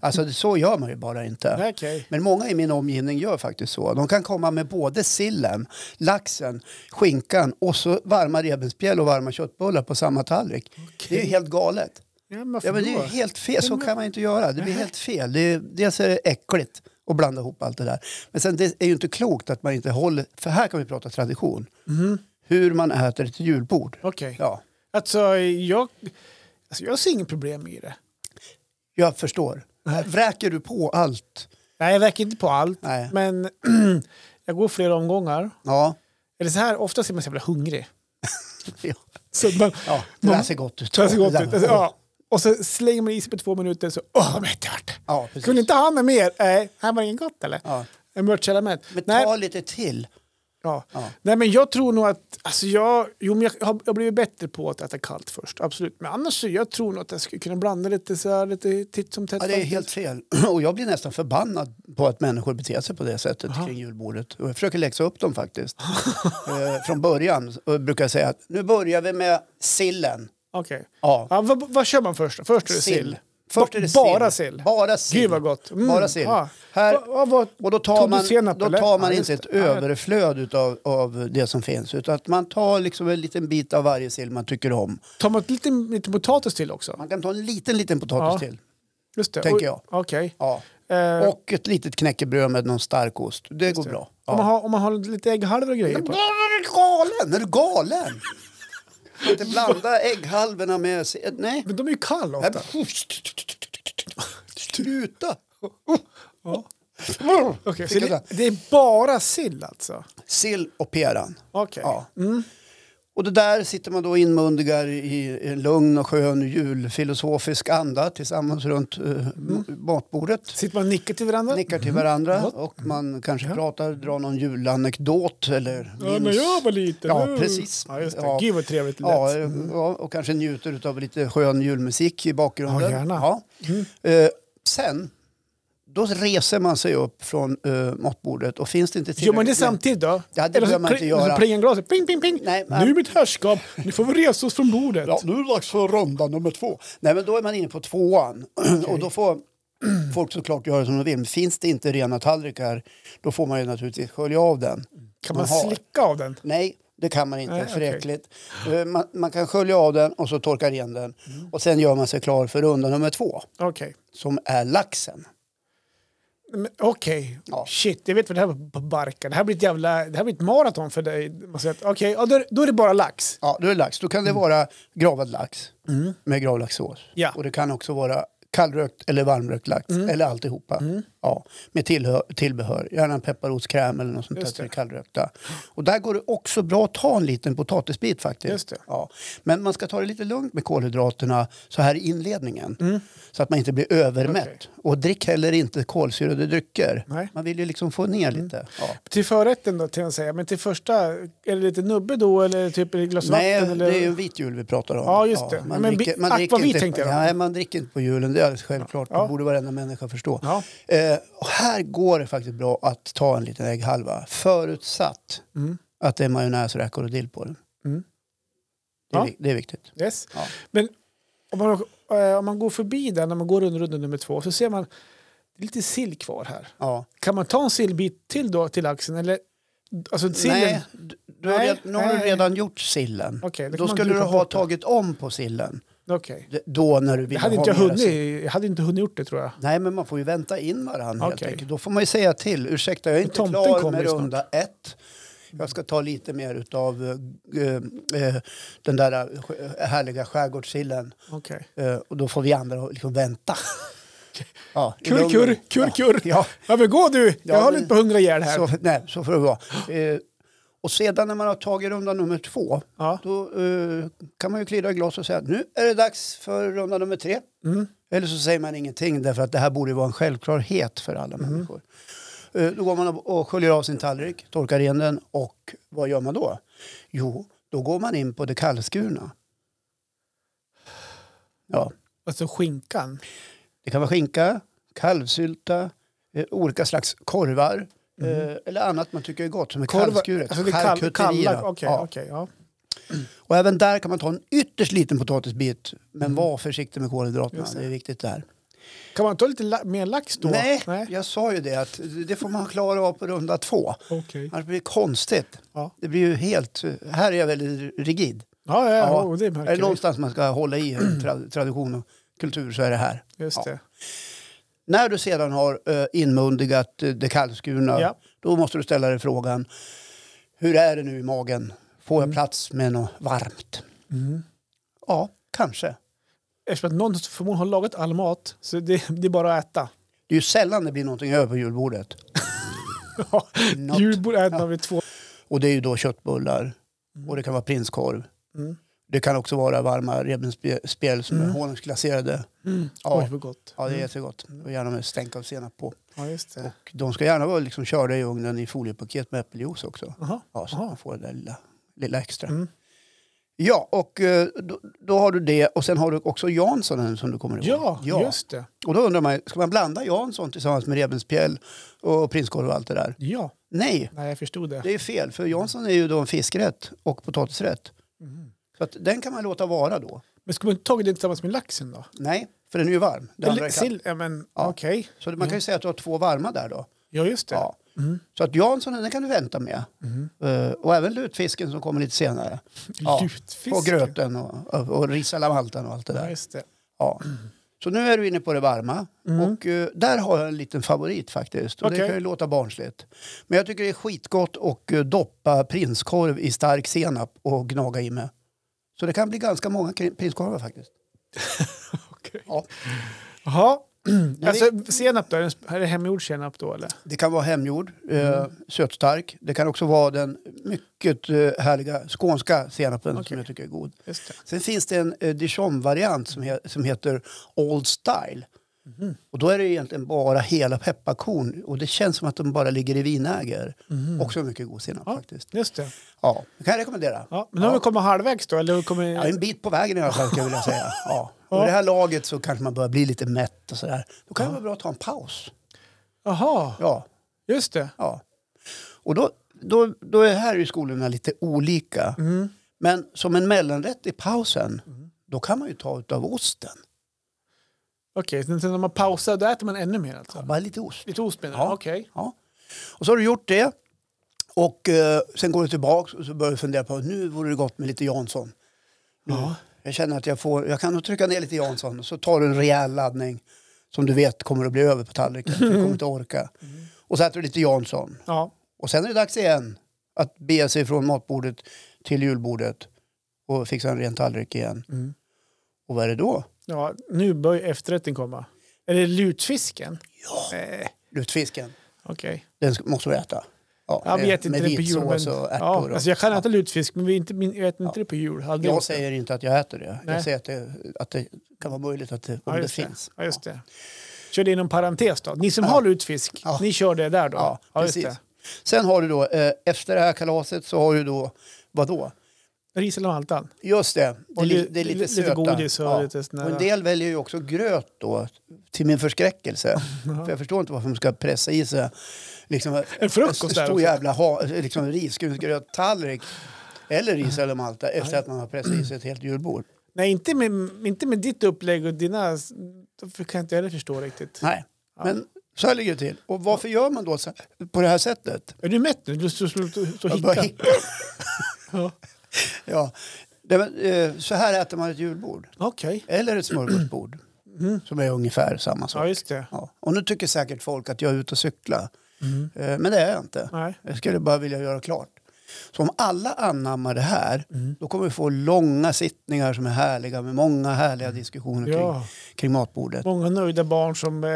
[SPEAKER 1] Alltså så gör man ju bara inte.
[SPEAKER 2] Nej, Okej.
[SPEAKER 1] Men många i min omgivning gör faktiskt så. De kan komma med både sillen, laxen, skinkan och så varma revbensspjäll och varma köttbullar på samma tallrik. Det är ju helt galet.
[SPEAKER 2] Ja, men varför
[SPEAKER 1] Ja, men det är
[SPEAKER 2] då?
[SPEAKER 1] ju helt fel. Så kan man inte göra. Det blir helt fel. Det är, dels är det äckligt att blanda ihop allt det där. Men sen det är ju inte klokt att man inte håller... För här kan vi prata tradition. Hur man äter ett julbord.
[SPEAKER 2] Okej.
[SPEAKER 1] Ja,
[SPEAKER 2] Alltså, jag, alltså, jag ser inget problem i det.
[SPEAKER 1] jag förstår. Vräker du på allt?
[SPEAKER 2] Nej, jag verkar inte på allt.
[SPEAKER 1] Nej.
[SPEAKER 2] Men jag går flera omgångar.
[SPEAKER 1] Ja.
[SPEAKER 2] Eller så här, ofta är man så jävla hungrig.
[SPEAKER 1] Ja,
[SPEAKER 2] Så man,
[SPEAKER 1] ja det där ser gott ut.
[SPEAKER 2] Så gott ut.
[SPEAKER 1] Det där-
[SPEAKER 2] Alltså, ja. Och så slänger man i sig på två minuter så åh vad mätt jag vart.
[SPEAKER 1] Ja, precis.
[SPEAKER 2] Kunde inte ha med mer? Nej, här var det inget gott eller?
[SPEAKER 1] Ja.
[SPEAKER 2] En mörtkällarmätt.
[SPEAKER 1] Men
[SPEAKER 2] Nej,
[SPEAKER 1] ta lite till.
[SPEAKER 2] ja.
[SPEAKER 1] Ja.
[SPEAKER 2] Nej men jag tror nog att, alltså jag, jo men jag har jag har blivit bättre på att äta kallt först, absolut. Men annars så jag tror nog att jag skulle kunna blanda lite så här, lite titt som tätt.
[SPEAKER 1] Ja, det är
[SPEAKER 2] faktiskt.
[SPEAKER 1] helt fel. Och jag blir nästan förbannad på att människor beter sig på det sättet kring julbordet. Och jag försöker läxa upp dem faktiskt. eh, från början och brukar jag säga att nu börjar vi med sillen.
[SPEAKER 2] Okej.
[SPEAKER 1] Ja,
[SPEAKER 2] Ja, vad, vad kör man först då? Först är det sill.
[SPEAKER 1] Först
[SPEAKER 2] Ba-
[SPEAKER 1] är det
[SPEAKER 2] bara sill.
[SPEAKER 1] Bara sill.
[SPEAKER 2] Gud vad gott. Mm,
[SPEAKER 1] Bara sill.
[SPEAKER 2] ja.
[SPEAKER 1] Här,
[SPEAKER 2] Va- va- vad-
[SPEAKER 1] och då
[SPEAKER 2] tog
[SPEAKER 1] tar
[SPEAKER 2] du
[SPEAKER 1] man,
[SPEAKER 2] senap,
[SPEAKER 1] då
[SPEAKER 2] eller?
[SPEAKER 1] tar man
[SPEAKER 2] Ja,
[SPEAKER 1] inte
[SPEAKER 2] just
[SPEAKER 1] ett
[SPEAKER 2] det. Ja, jag-
[SPEAKER 1] överflöd utav, av det som finns. Utan att man tar liksom en liten bit av varje sill man tycker om.
[SPEAKER 2] Tar man lite, lite potatis till också?
[SPEAKER 1] Man kan ta en liten, liten potatis
[SPEAKER 2] Ja.
[SPEAKER 1] till.
[SPEAKER 2] Just det.
[SPEAKER 1] Tänker
[SPEAKER 2] Och- Okej.
[SPEAKER 1] Ja.
[SPEAKER 2] Eh,
[SPEAKER 1] Och ett litet knäckebröd med någon starkost. Det går
[SPEAKER 2] det.
[SPEAKER 1] bra.
[SPEAKER 2] Om, man
[SPEAKER 1] Ja.
[SPEAKER 2] har, om man har lite ägghalvor och grejer
[SPEAKER 1] Men
[SPEAKER 2] på.
[SPEAKER 1] vad Är du galen? Är du galen? Inte blanda ägghalvorna med... si- Nej.
[SPEAKER 2] Men de är ju kalla
[SPEAKER 1] Nej,
[SPEAKER 2] ofta.
[SPEAKER 1] men- Struta!
[SPEAKER 2] Ja. Okej, så det, det är bara sill alltså?
[SPEAKER 1] Sill och peran.
[SPEAKER 2] Okej.
[SPEAKER 1] Ja.
[SPEAKER 2] Mm.
[SPEAKER 1] Och det där sitter man då inmundigar i en lugn och skön julfilosofisk anda tillsammans runt eh,
[SPEAKER 2] Mm.
[SPEAKER 1] matbordet.
[SPEAKER 2] Sitter man och nickar till varandra?
[SPEAKER 1] Nickar till
[SPEAKER 2] Mm.
[SPEAKER 1] varandra och man kanske pratar, drar någon julanekdot eller
[SPEAKER 2] Ja, när jag var liten.
[SPEAKER 1] Ja,
[SPEAKER 2] nu.
[SPEAKER 1] precis.
[SPEAKER 2] Ja, just det.
[SPEAKER 1] Ja.
[SPEAKER 2] Gud vad trevligt det lät.
[SPEAKER 1] Ja, eh, ja, och kanske njuter av lite skön julmusik i bakgrunden.
[SPEAKER 2] Ja, gärna. Mm.
[SPEAKER 1] Eh, sen, då reser man sig upp från eh, matbordet och finns det inte
[SPEAKER 2] Gör man det
[SPEAKER 1] tillräckligt med-
[SPEAKER 2] samtidigt då?
[SPEAKER 1] Ja, det
[SPEAKER 2] Eller så
[SPEAKER 1] behöver man inte
[SPEAKER 2] pling-
[SPEAKER 1] göra.
[SPEAKER 2] Så plingar glaset. Ping, ping, ping.
[SPEAKER 1] Nej, men-
[SPEAKER 2] Nu är mitt herrskap. Nu får vi resa oss från bordet.
[SPEAKER 1] Ja, nu är det dags för runda nummer två. Nej, men då är man inne på tvåan. Och då får folk såklart göra som de vill. Men Finns det inte rena tallrikar, då får man ju naturligtvis skölja av den.
[SPEAKER 2] kan man
[SPEAKER 1] har.
[SPEAKER 2] slicka av den?
[SPEAKER 1] Nej, det kan man inte.
[SPEAKER 2] Nej,
[SPEAKER 1] för
[SPEAKER 2] okej.
[SPEAKER 1] äckligt. Eh, Man, man kan skölja av den och så torka ren den.
[SPEAKER 2] Mm.
[SPEAKER 1] Och sen gör man sig klar för runda nummer två,
[SPEAKER 2] Okej.
[SPEAKER 1] som är laxen.
[SPEAKER 2] Men Okej,
[SPEAKER 1] Ja.
[SPEAKER 2] shit, jag vet vad det här var på barken. Det här blir ett jävla, det här blir ett maraton för dig. Man säger att, Okej, ja, då, är- då är det bara lax. Mm.
[SPEAKER 1] Ja, då är det lax. Då kan det vara gravad lax med gravlaxsås.
[SPEAKER 2] Ja. Mm.
[SPEAKER 1] Och det kan också vara kallrökt eller varmrökt lax, eller alltihopa. Ja, med tillhö- tillbehör, gärna en pepparrotskräm eller något sånt där
[SPEAKER 2] Just
[SPEAKER 1] till det
[SPEAKER 2] det.
[SPEAKER 1] kallrökta. Och där går det också bra att ta en liten potatisbit faktiskt.
[SPEAKER 2] Just det.
[SPEAKER 1] Ja. Men man ska ta det lite lugnt med kolhydraterna så här i inledningen. Så att man inte blir övermätt.
[SPEAKER 2] Mm. Okej.
[SPEAKER 1] Och drick heller inte kolsyrade drycker.
[SPEAKER 2] Nej. Mm.
[SPEAKER 1] Man vill ju liksom få ner lite. Ja.
[SPEAKER 2] Till förrätten då, till att säga. Men till första, är det lite nubbe då eller typ ett glas
[SPEAKER 1] Nej,
[SPEAKER 2] vatten? Eller?
[SPEAKER 1] det är ju en vit jul vi pratar om.
[SPEAKER 2] Ja, just det.
[SPEAKER 1] man,
[SPEAKER 2] Men
[SPEAKER 1] dricker,
[SPEAKER 2] vi-
[SPEAKER 1] man, dricker
[SPEAKER 2] akvavit
[SPEAKER 1] inte,
[SPEAKER 2] tänkte jag.
[SPEAKER 1] Nej, man dricker inte på julen, det är alldeles självklart.
[SPEAKER 2] Ja.
[SPEAKER 1] Det borde varenda människa förstå.
[SPEAKER 2] Ja.
[SPEAKER 1] Eh, och här går det faktiskt bra att ta en liten ägghalva, förutsatt
[SPEAKER 2] Mm.
[SPEAKER 1] att det är majonnäs, räkor och dill på den.
[SPEAKER 2] Mm.
[SPEAKER 1] Det, är,
[SPEAKER 2] Ja.
[SPEAKER 1] vi- det är viktigt.
[SPEAKER 2] Yes.
[SPEAKER 1] Ja.
[SPEAKER 2] Men om man, eh, om man går förbi där, när man går under runda nummer två, så ser man det är lite sill kvar här.
[SPEAKER 1] Ja.
[SPEAKER 2] Kan man ta en sillbit till då till axeln? Eller, alltså sillen?
[SPEAKER 1] Nej, du, du har
[SPEAKER 2] Nej,
[SPEAKER 1] redan, nu har du
[SPEAKER 2] nej.
[SPEAKER 1] redan gjort sillen.
[SPEAKER 2] Okej, då kan
[SPEAKER 1] Då
[SPEAKER 2] man
[SPEAKER 1] skulle du
[SPEAKER 2] duka
[SPEAKER 1] ha
[SPEAKER 2] bort det.
[SPEAKER 1] tagit om på sillen.
[SPEAKER 2] Okej.
[SPEAKER 1] D- Då när du vill
[SPEAKER 2] Jag hade,
[SPEAKER 1] ha
[SPEAKER 2] inte
[SPEAKER 1] mera sill.
[SPEAKER 2] hunnit, jag hade inte hunnit gjort det tror jag.
[SPEAKER 1] Nej, men man får ju vänta in varandra helt
[SPEAKER 2] Okej.
[SPEAKER 1] enkelt. Då får man ju säga till. Ursäkta, jag är inte
[SPEAKER 2] Tomten
[SPEAKER 1] klar
[SPEAKER 2] kommer
[SPEAKER 1] med
[SPEAKER 2] ju snart.
[SPEAKER 1] runda ett. Jag ska ta lite mer av den där eh, sk- härliga skärgårdssillen.
[SPEAKER 2] Okej.
[SPEAKER 1] Eh, och då får vi andra liksom vänta. Ja, i
[SPEAKER 2] Kurr,
[SPEAKER 1] lugn och
[SPEAKER 2] kurr,
[SPEAKER 1] ro.
[SPEAKER 2] kurr,
[SPEAKER 1] Ja,
[SPEAKER 2] kurr.
[SPEAKER 1] Ja,
[SPEAKER 2] Ja men gå du, jag
[SPEAKER 1] Ja,
[SPEAKER 2] håller
[SPEAKER 1] men-
[SPEAKER 2] inte på att hungra ihjäl här.
[SPEAKER 1] så, nej, så får det vara. Eh, och sedan när man har tagit runda nummer två,
[SPEAKER 2] Ja.
[SPEAKER 1] då eh, kan man ju klirra i glas och säga nu är det dags för runda nummer tre.
[SPEAKER 2] Mm.
[SPEAKER 1] Eller så säger man ingenting därför att det här borde ju vara en självklarhet för alla
[SPEAKER 2] Mm.
[SPEAKER 1] människor. Eh, Då går man och och sköljer av sin tallrik, torkar igen den och vad gör man då? Jo, då går man in på det kallskurna. Ja,
[SPEAKER 2] Alltså skinkan.
[SPEAKER 1] det kan vara skinka, kalvsylta, eh, olika slags korvar eh, eller annat man tycker är gott som är kallskuret.
[SPEAKER 2] Mm. alltså det kall,
[SPEAKER 1] charkuterier.
[SPEAKER 2] kalla, okej,
[SPEAKER 1] ja.
[SPEAKER 2] okej, ja.
[SPEAKER 1] Och även där kan man ta en ytterst liten potatisbit men var försiktig med kolhydraterna,
[SPEAKER 2] Mm. Just det.
[SPEAKER 1] det är viktigt där.
[SPEAKER 2] Kan man ta lite la, mer lax då?
[SPEAKER 1] Nej,
[SPEAKER 2] Nej.
[SPEAKER 1] jag sa ju det att det får man klara av på runda två.
[SPEAKER 2] Okej.
[SPEAKER 1] Annars blir det konstigt.
[SPEAKER 2] Ja.
[SPEAKER 1] Det blir ju helt... Här är jag väldigt rigid.
[SPEAKER 2] Ja, ja,
[SPEAKER 1] Ja.
[SPEAKER 2] ja. Oh, det
[SPEAKER 1] Är
[SPEAKER 2] märker
[SPEAKER 1] det
[SPEAKER 2] vi.
[SPEAKER 1] någonstans man ska hålla i en tra- tradition och kultur så är det här.
[SPEAKER 2] Just det.
[SPEAKER 1] När du sedan har eh, inmundigat eh, det kallskurna
[SPEAKER 2] Ja.
[SPEAKER 1] då måste du ställa dig frågan hur är det nu i magen? Får jag plats med något varmt?
[SPEAKER 2] Mm.
[SPEAKER 1] Ja, kanske.
[SPEAKER 2] Eftersom att någon förmodligen har lagat all mat så det, det är bara att äta.
[SPEAKER 1] Det är ju sällan det blir någonting över på julbordet.
[SPEAKER 2] Ja,
[SPEAKER 1] Något.
[SPEAKER 2] Julbord äter man vid två.
[SPEAKER 1] Och det är ju då köttbullar och det kan vara prinskorv.
[SPEAKER 2] Mm.
[SPEAKER 1] Det kan också vara varma revbensspjäll som är
[SPEAKER 2] Mm.
[SPEAKER 1] honungsglaserade.
[SPEAKER 2] Mm.
[SPEAKER 1] Ja.
[SPEAKER 2] Oj, vad gott.
[SPEAKER 1] Ja, det är
[SPEAKER 2] Mm.
[SPEAKER 1] jättegott. Och gärna med stänk av senap på.
[SPEAKER 2] ja just det.
[SPEAKER 1] Och de ska gärna vara liksom körda i ugnen i foliepaket med äppeljuice också.
[SPEAKER 2] Aha.
[SPEAKER 1] Ja, så
[SPEAKER 2] Aha.
[SPEAKER 1] man får det där lilla, lilla extra.
[SPEAKER 2] Mm.
[SPEAKER 1] Ja, och eh, då, då har du det. Och sen har du också Janssonen som du kommer ihåg.
[SPEAKER 2] Ja, just det.
[SPEAKER 1] Och då undrar man, ska man blanda Jansson tillsammans med revbensspjäll och prinskorv och allt det där?
[SPEAKER 2] Ja,
[SPEAKER 1] Nej,
[SPEAKER 2] nej, jag förstod det.
[SPEAKER 1] det är fel. För Jansson är ju då en fiskrätt och potatisrätt.
[SPEAKER 2] Mm.
[SPEAKER 1] Så att den kan man låta vara då.
[SPEAKER 2] Men skulle man inte tagit det tillsammans med laxen då?
[SPEAKER 1] Nej, för den är ju varm. Det andra
[SPEAKER 2] Eller
[SPEAKER 1] är kall.
[SPEAKER 2] sill? Ja, men
[SPEAKER 1] Ja.
[SPEAKER 2] okej.
[SPEAKER 1] Så man kan ju säga att du har två varma där då.
[SPEAKER 2] Ja, just det.
[SPEAKER 1] Ja.
[SPEAKER 2] Mm.
[SPEAKER 1] Så att Janssonen den kan du vänta med.
[SPEAKER 2] Mm.
[SPEAKER 1] Eh, och även lutfisken som kommer lite senare. Ja.
[SPEAKER 2] Lutfisk.
[SPEAKER 1] Och gröten och, och, och risalamaltan och allt det
[SPEAKER 2] Ja,
[SPEAKER 1] där.
[SPEAKER 2] just det.
[SPEAKER 1] Ja. Så nu är du inne på det varma.
[SPEAKER 2] Mm.
[SPEAKER 1] Och eh, där har jag en liten favorit faktiskt. Och Det
[SPEAKER 2] Okej.
[SPEAKER 1] kan ju låta barnsligt. Men jag tycker det är skitgott att eh, doppa prinskorv i stark senap och gnaga i med. Så det kan bli ganska många kri- prinskorvar faktiskt.
[SPEAKER 2] Okej.
[SPEAKER 1] Ja.
[SPEAKER 2] Jaha.
[SPEAKER 1] vi-
[SPEAKER 2] Alltså, senap då? Är det- Är det hemgjord senap då eller?
[SPEAKER 1] Det kan vara hemgjord, eh,
[SPEAKER 2] Mm.
[SPEAKER 1] sötstark. Det kan också vara den mycket eh, härliga skånska senapen som
[SPEAKER 2] Okej.
[SPEAKER 1] jag tycker är god.
[SPEAKER 2] Just det.
[SPEAKER 1] Sen finns det en eh, Dijon-variant som, he- som heter Old Style.
[SPEAKER 2] Mhm.
[SPEAKER 1] Och då är det egentligen bara hela pepparkorn och det känns som att de bara ligger i vinäger. Också mycket god senap
[SPEAKER 2] Mhm. Ja.
[SPEAKER 1] faktiskt.
[SPEAKER 2] Just det.
[SPEAKER 1] Ja, det kan jag rekommendera.
[SPEAKER 2] Ja, men nu har
[SPEAKER 1] Ja.
[SPEAKER 2] vi kommit halvvägs då? Eller hur kommer...
[SPEAKER 1] Ja, en bit på vägen i alla fall skulle jag vilja säga. Ja. Och i det här laget så kanske man börjar bli lite mätt och sådär. Då kan det vara bra att ta en paus.
[SPEAKER 2] Jaha,
[SPEAKER 1] Ja,
[SPEAKER 2] just det.
[SPEAKER 1] Ja. Och då, då, då är här i skolorna lite olika.
[SPEAKER 2] Mhm.
[SPEAKER 1] Men som en mellanrätt i pausen,
[SPEAKER 2] Mm.
[SPEAKER 1] då kan man ju ta utav osten.
[SPEAKER 2] Okej, så sen när man pausar då äter man ännu mer alltså?
[SPEAKER 1] Bara lite ost.
[SPEAKER 2] Lite ost menar
[SPEAKER 1] Ja.
[SPEAKER 2] du? Okej.
[SPEAKER 1] Ja. Och så har du gjort det. Och eh, sen går du tillbaka och så börjar du fundera på nu vore det gott med lite Jansson. Nu, Jag känner att jag, får, jag kan nog trycka ner lite Jansson. Och så tar du en rejäl laddning som du vet kommer att bli över på tallriken. För du kommer inte orka.
[SPEAKER 2] Mm.
[SPEAKER 1] Och så äter du lite Jansson.
[SPEAKER 2] Ja.
[SPEAKER 1] Och sen är det dags igen att bege sig från matbordet till julbordet och fixa en ren tallrik igen.
[SPEAKER 2] Mm.
[SPEAKER 1] Och vad är det då?
[SPEAKER 2] ja, nu börjar efterrätten komma. Är det lutfisken? Ja. Eh,
[SPEAKER 1] Lutfisken.
[SPEAKER 2] Okej.
[SPEAKER 1] Den ska- måste vi äta. Ja,
[SPEAKER 2] Ja, vi
[SPEAKER 1] med-
[SPEAKER 2] äter
[SPEAKER 1] med
[SPEAKER 2] inte det på
[SPEAKER 1] vit
[SPEAKER 2] jul. Men...
[SPEAKER 1] sås och ärtor.
[SPEAKER 2] Ja,
[SPEAKER 1] och-
[SPEAKER 2] alltså jag kan äta lutfisk men vi är inte, min- jag äter inte det på jul. Aldrig
[SPEAKER 1] jag
[SPEAKER 2] gjort det.
[SPEAKER 1] säger inte att jag äter det.
[SPEAKER 2] Nej.
[SPEAKER 1] Jag säger att det, att det kan vara möjligt att det, om
[SPEAKER 2] Ja,
[SPEAKER 1] det
[SPEAKER 2] just
[SPEAKER 1] finns.
[SPEAKER 2] Ja, just det. Kör det inom parentes då. Ni som har lutfisk,
[SPEAKER 1] Ja.
[SPEAKER 2] ni kör det där då?
[SPEAKER 1] Ja,
[SPEAKER 2] just
[SPEAKER 1] precis. Sen har du då, eh, efter det här kalaset så har du då, vad då?
[SPEAKER 2] det. Ris eller maltan?
[SPEAKER 1] Just det, det, är
[SPEAKER 2] Och
[SPEAKER 1] li,
[SPEAKER 2] li-
[SPEAKER 1] det är lite,
[SPEAKER 2] lite
[SPEAKER 1] söta.
[SPEAKER 2] godis och lite sån här-
[SPEAKER 1] och en del väljer ju också gröt då, till min förskräckelse. För jag förstår inte varför man ska pressa i sig liksom,
[SPEAKER 2] En frukost
[SPEAKER 1] en
[SPEAKER 2] där
[SPEAKER 1] stor
[SPEAKER 2] också.
[SPEAKER 1] jävla ha, liksom, risgrynsgröt-tallrik eller ris eller malta efter att man har pressat i sig ett helt julbord.
[SPEAKER 2] Nej, inte Typ. med, inte med ditt upplägg och dina... Då kan jag inte heller förstå riktigt.
[SPEAKER 1] Nej, men Så här ligger det till. Och varför gör man då så här, på det här sättet?
[SPEAKER 2] Är du mätt nu? Du står och
[SPEAKER 1] Jag bara
[SPEAKER 2] hickar.
[SPEAKER 1] hickar.
[SPEAKER 2] Ja.
[SPEAKER 1] Ja. Nej, men, eh, så här äter man ett julbord.
[SPEAKER 2] Okej.
[SPEAKER 1] Eller ett smörgåsbord. Som är ungefär samma sak.
[SPEAKER 2] Mm. Ja, just det.
[SPEAKER 1] Ja. Och nu tycker säkert folk att jag är ute och cyklar.
[SPEAKER 2] Mm.
[SPEAKER 1] Eh, Men det är jag inte.
[SPEAKER 2] Nej.
[SPEAKER 1] Jag skulle bara vilja göra klart. Så om alla anammar det här,
[SPEAKER 2] Mm.
[SPEAKER 1] då kommer vi få långa sittningar som är härliga med många härliga diskussioner kring,
[SPEAKER 2] Mm. Ja.
[SPEAKER 1] kring matbordet.
[SPEAKER 2] Många nöjda barn som... Eh,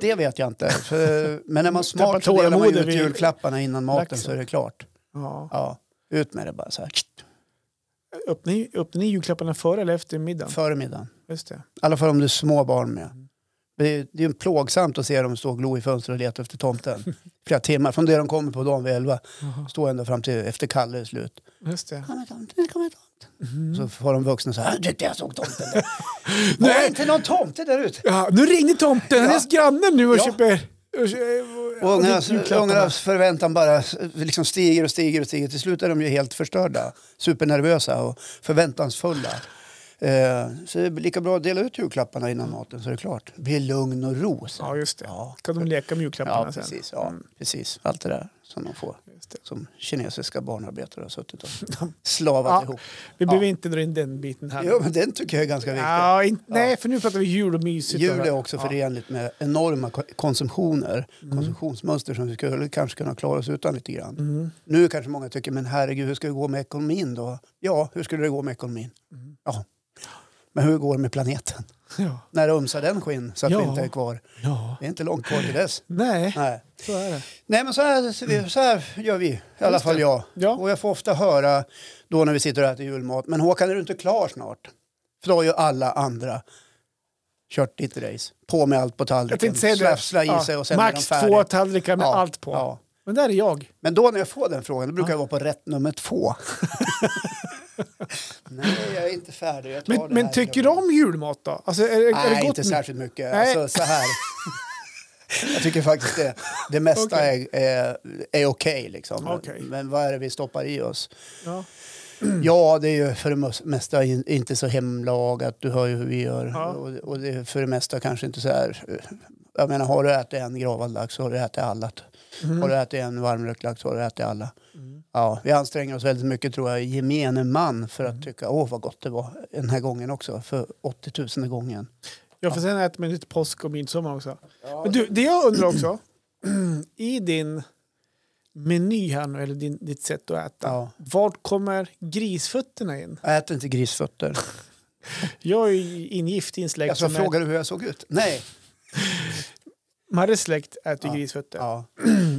[SPEAKER 1] Det vet jag inte. För, men när man är
[SPEAKER 2] Tappar
[SPEAKER 1] smart så delar man Mm. ju
[SPEAKER 2] tålamod
[SPEAKER 1] ut
[SPEAKER 2] vid
[SPEAKER 1] julklapparna innan maten
[SPEAKER 2] laxen.
[SPEAKER 1] så är det klart.
[SPEAKER 2] ja.
[SPEAKER 1] Ja, ut med det bara så här.
[SPEAKER 2] öppnar, ni, öppnar ni julklapparna före eller efter middagen?
[SPEAKER 1] Före middagen.
[SPEAKER 2] Just det.
[SPEAKER 1] I alla fall om det är små barn med. Det är, det är ju plågsamt att se dem stå och glo i fönstret och leta efter tomten. Flera timmar. Från det de kommer på dagen vid elva. Stå ända fram till efter Kalle är slut.
[SPEAKER 2] Just det.
[SPEAKER 1] Kommer tomten, kommer tomten. Så får de vuxna så här. "Du, Jag såg tomten där. Nej. Var det
[SPEAKER 2] Nej!
[SPEAKER 1] inte någon tomte där ute?
[SPEAKER 2] Ja, nu ringde tomten,
[SPEAKER 1] Ja.
[SPEAKER 2] hennes granne nu och
[SPEAKER 1] Ja.
[SPEAKER 2] köper... Och,
[SPEAKER 1] Och
[SPEAKER 2] och,
[SPEAKER 1] ungarnas,
[SPEAKER 2] julklapparna.
[SPEAKER 1] ungarnas förväntan bara eh, liksom stiger och stiger och stiger. Till slut är de ju helt förstörda. Supernervösa och förväntansfulla. Eh, så det är lika bra att dela ut julklapparna
[SPEAKER 2] Mm.
[SPEAKER 1] innan maten så är det klart. Det blir lugn och ro. sen.
[SPEAKER 2] Ja, just det.
[SPEAKER 1] Ja.
[SPEAKER 2] Kan de leka med julklapparna
[SPEAKER 1] Ja,
[SPEAKER 2] sen?
[SPEAKER 1] precis. Ja,
[SPEAKER 2] Mm.
[SPEAKER 1] precis. Allt det där som de får.
[SPEAKER 2] Just det.
[SPEAKER 1] Som kinesiska barnarbetare har suttit och slavat
[SPEAKER 2] Ja.
[SPEAKER 1] ihop.
[SPEAKER 2] Vi behöver inte dra in den biten här.
[SPEAKER 1] Jo, men den tycker jag är ganska viktig.
[SPEAKER 2] ja, in, Nej, för nu pratar vi jul och mysigt.
[SPEAKER 1] Jul är
[SPEAKER 2] och-
[SPEAKER 1] också
[SPEAKER 2] Typ ja. Mm.
[SPEAKER 1] förenligt med enorma ko- konsumtioner, konsumtionsmönster som vi skulle kanske kunna klara oss utan lite grann.
[SPEAKER 2] Mm.
[SPEAKER 1] Nu kanske många tycker, men herregud, hur ska det gå med ekonomin då? Ja, hur skulle det gå med ekonomin?
[SPEAKER 2] Mm.
[SPEAKER 1] Ja. Men hur går det med planeten?
[SPEAKER 2] Ja.
[SPEAKER 1] När ömsar den skinn så att vi
[SPEAKER 2] Ja.
[SPEAKER 1] inte är kvar?
[SPEAKER 2] ja.
[SPEAKER 1] Det är inte långt kvar till dess.
[SPEAKER 2] Nej,
[SPEAKER 1] Nej.
[SPEAKER 2] så är det.
[SPEAKER 1] Nej, men så här, så vi- så här gör vi, i alla
[SPEAKER 2] Mm. Just
[SPEAKER 1] fall
[SPEAKER 2] det.
[SPEAKER 1] jag.
[SPEAKER 2] Ja.
[SPEAKER 1] Och jag får ofta höra då när vi sitter och äter julmat, men Håkan är du inte klar snart? För då har ju alla andra kört ditt race. På med allt på
[SPEAKER 2] Jag
[SPEAKER 1] tallriken,
[SPEAKER 2] tänkte säga det.
[SPEAKER 1] slafsa i
[SPEAKER 2] Ja.
[SPEAKER 1] sig och sen är de
[SPEAKER 2] Max
[SPEAKER 1] färdiga.
[SPEAKER 2] två tallrikar med
[SPEAKER 1] Ja,
[SPEAKER 2] allt på.
[SPEAKER 1] ja.
[SPEAKER 2] Men där är jag.
[SPEAKER 1] Men då när jag får den frågan, då brukar jag vara på rätt nummer två. Nej, jag är inte färdig. Jag tar
[SPEAKER 2] Men,
[SPEAKER 1] det
[SPEAKER 2] men
[SPEAKER 1] här
[SPEAKER 2] tycker
[SPEAKER 1] lilla-
[SPEAKER 2] du om julmat då? Alltså, är, är
[SPEAKER 1] Nej,
[SPEAKER 2] det gott
[SPEAKER 1] inte särskilt mycket.
[SPEAKER 2] Nej.
[SPEAKER 1] Alltså, så här. Jag tycker faktiskt det. Det mesta
[SPEAKER 2] Okej.
[SPEAKER 1] är, är, är okej. liksom.
[SPEAKER 2] Okej.
[SPEAKER 1] Men vad är det vi stoppar i oss?
[SPEAKER 2] Ja.
[SPEAKER 1] Ja, det är ju för det mos- mesta in- inte så hemlagat. Du hör ju hur vi gör.
[SPEAKER 2] Ja.
[SPEAKER 1] Och, och det är för det mesta kanske inte så här... Jag menar, har du ätit en gravad lax så har du ätit alla.
[SPEAKER 2] Mm.
[SPEAKER 1] Har du ätit en varmrökt lax så har du ätit alla. Ja, vi anstränger oss väldigt mycket tror jag, gemene man för
[SPEAKER 2] Mm.
[SPEAKER 1] att tycka åh vad gott det var den här gången också, för 80 000 gången.
[SPEAKER 2] Ja, för sen äter man lite påsk och midsommar också. Men du, det jag undrar också. I din meny här nu, eller din, ditt sätt att äta.
[SPEAKER 1] Ja.
[SPEAKER 2] Vart kommer grisfötterna in?
[SPEAKER 1] Jag äter inte grisfötter.
[SPEAKER 2] Jag är ju ingift i en släkt
[SPEAKER 1] Alltså,
[SPEAKER 2] som är,
[SPEAKER 1] frågar du hur jag såg ut? Nej.
[SPEAKER 2] Marres släkt äter
[SPEAKER 1] Ja.
[SPEAKER 2] grisfötter.
[SPEAKER 1] Ja,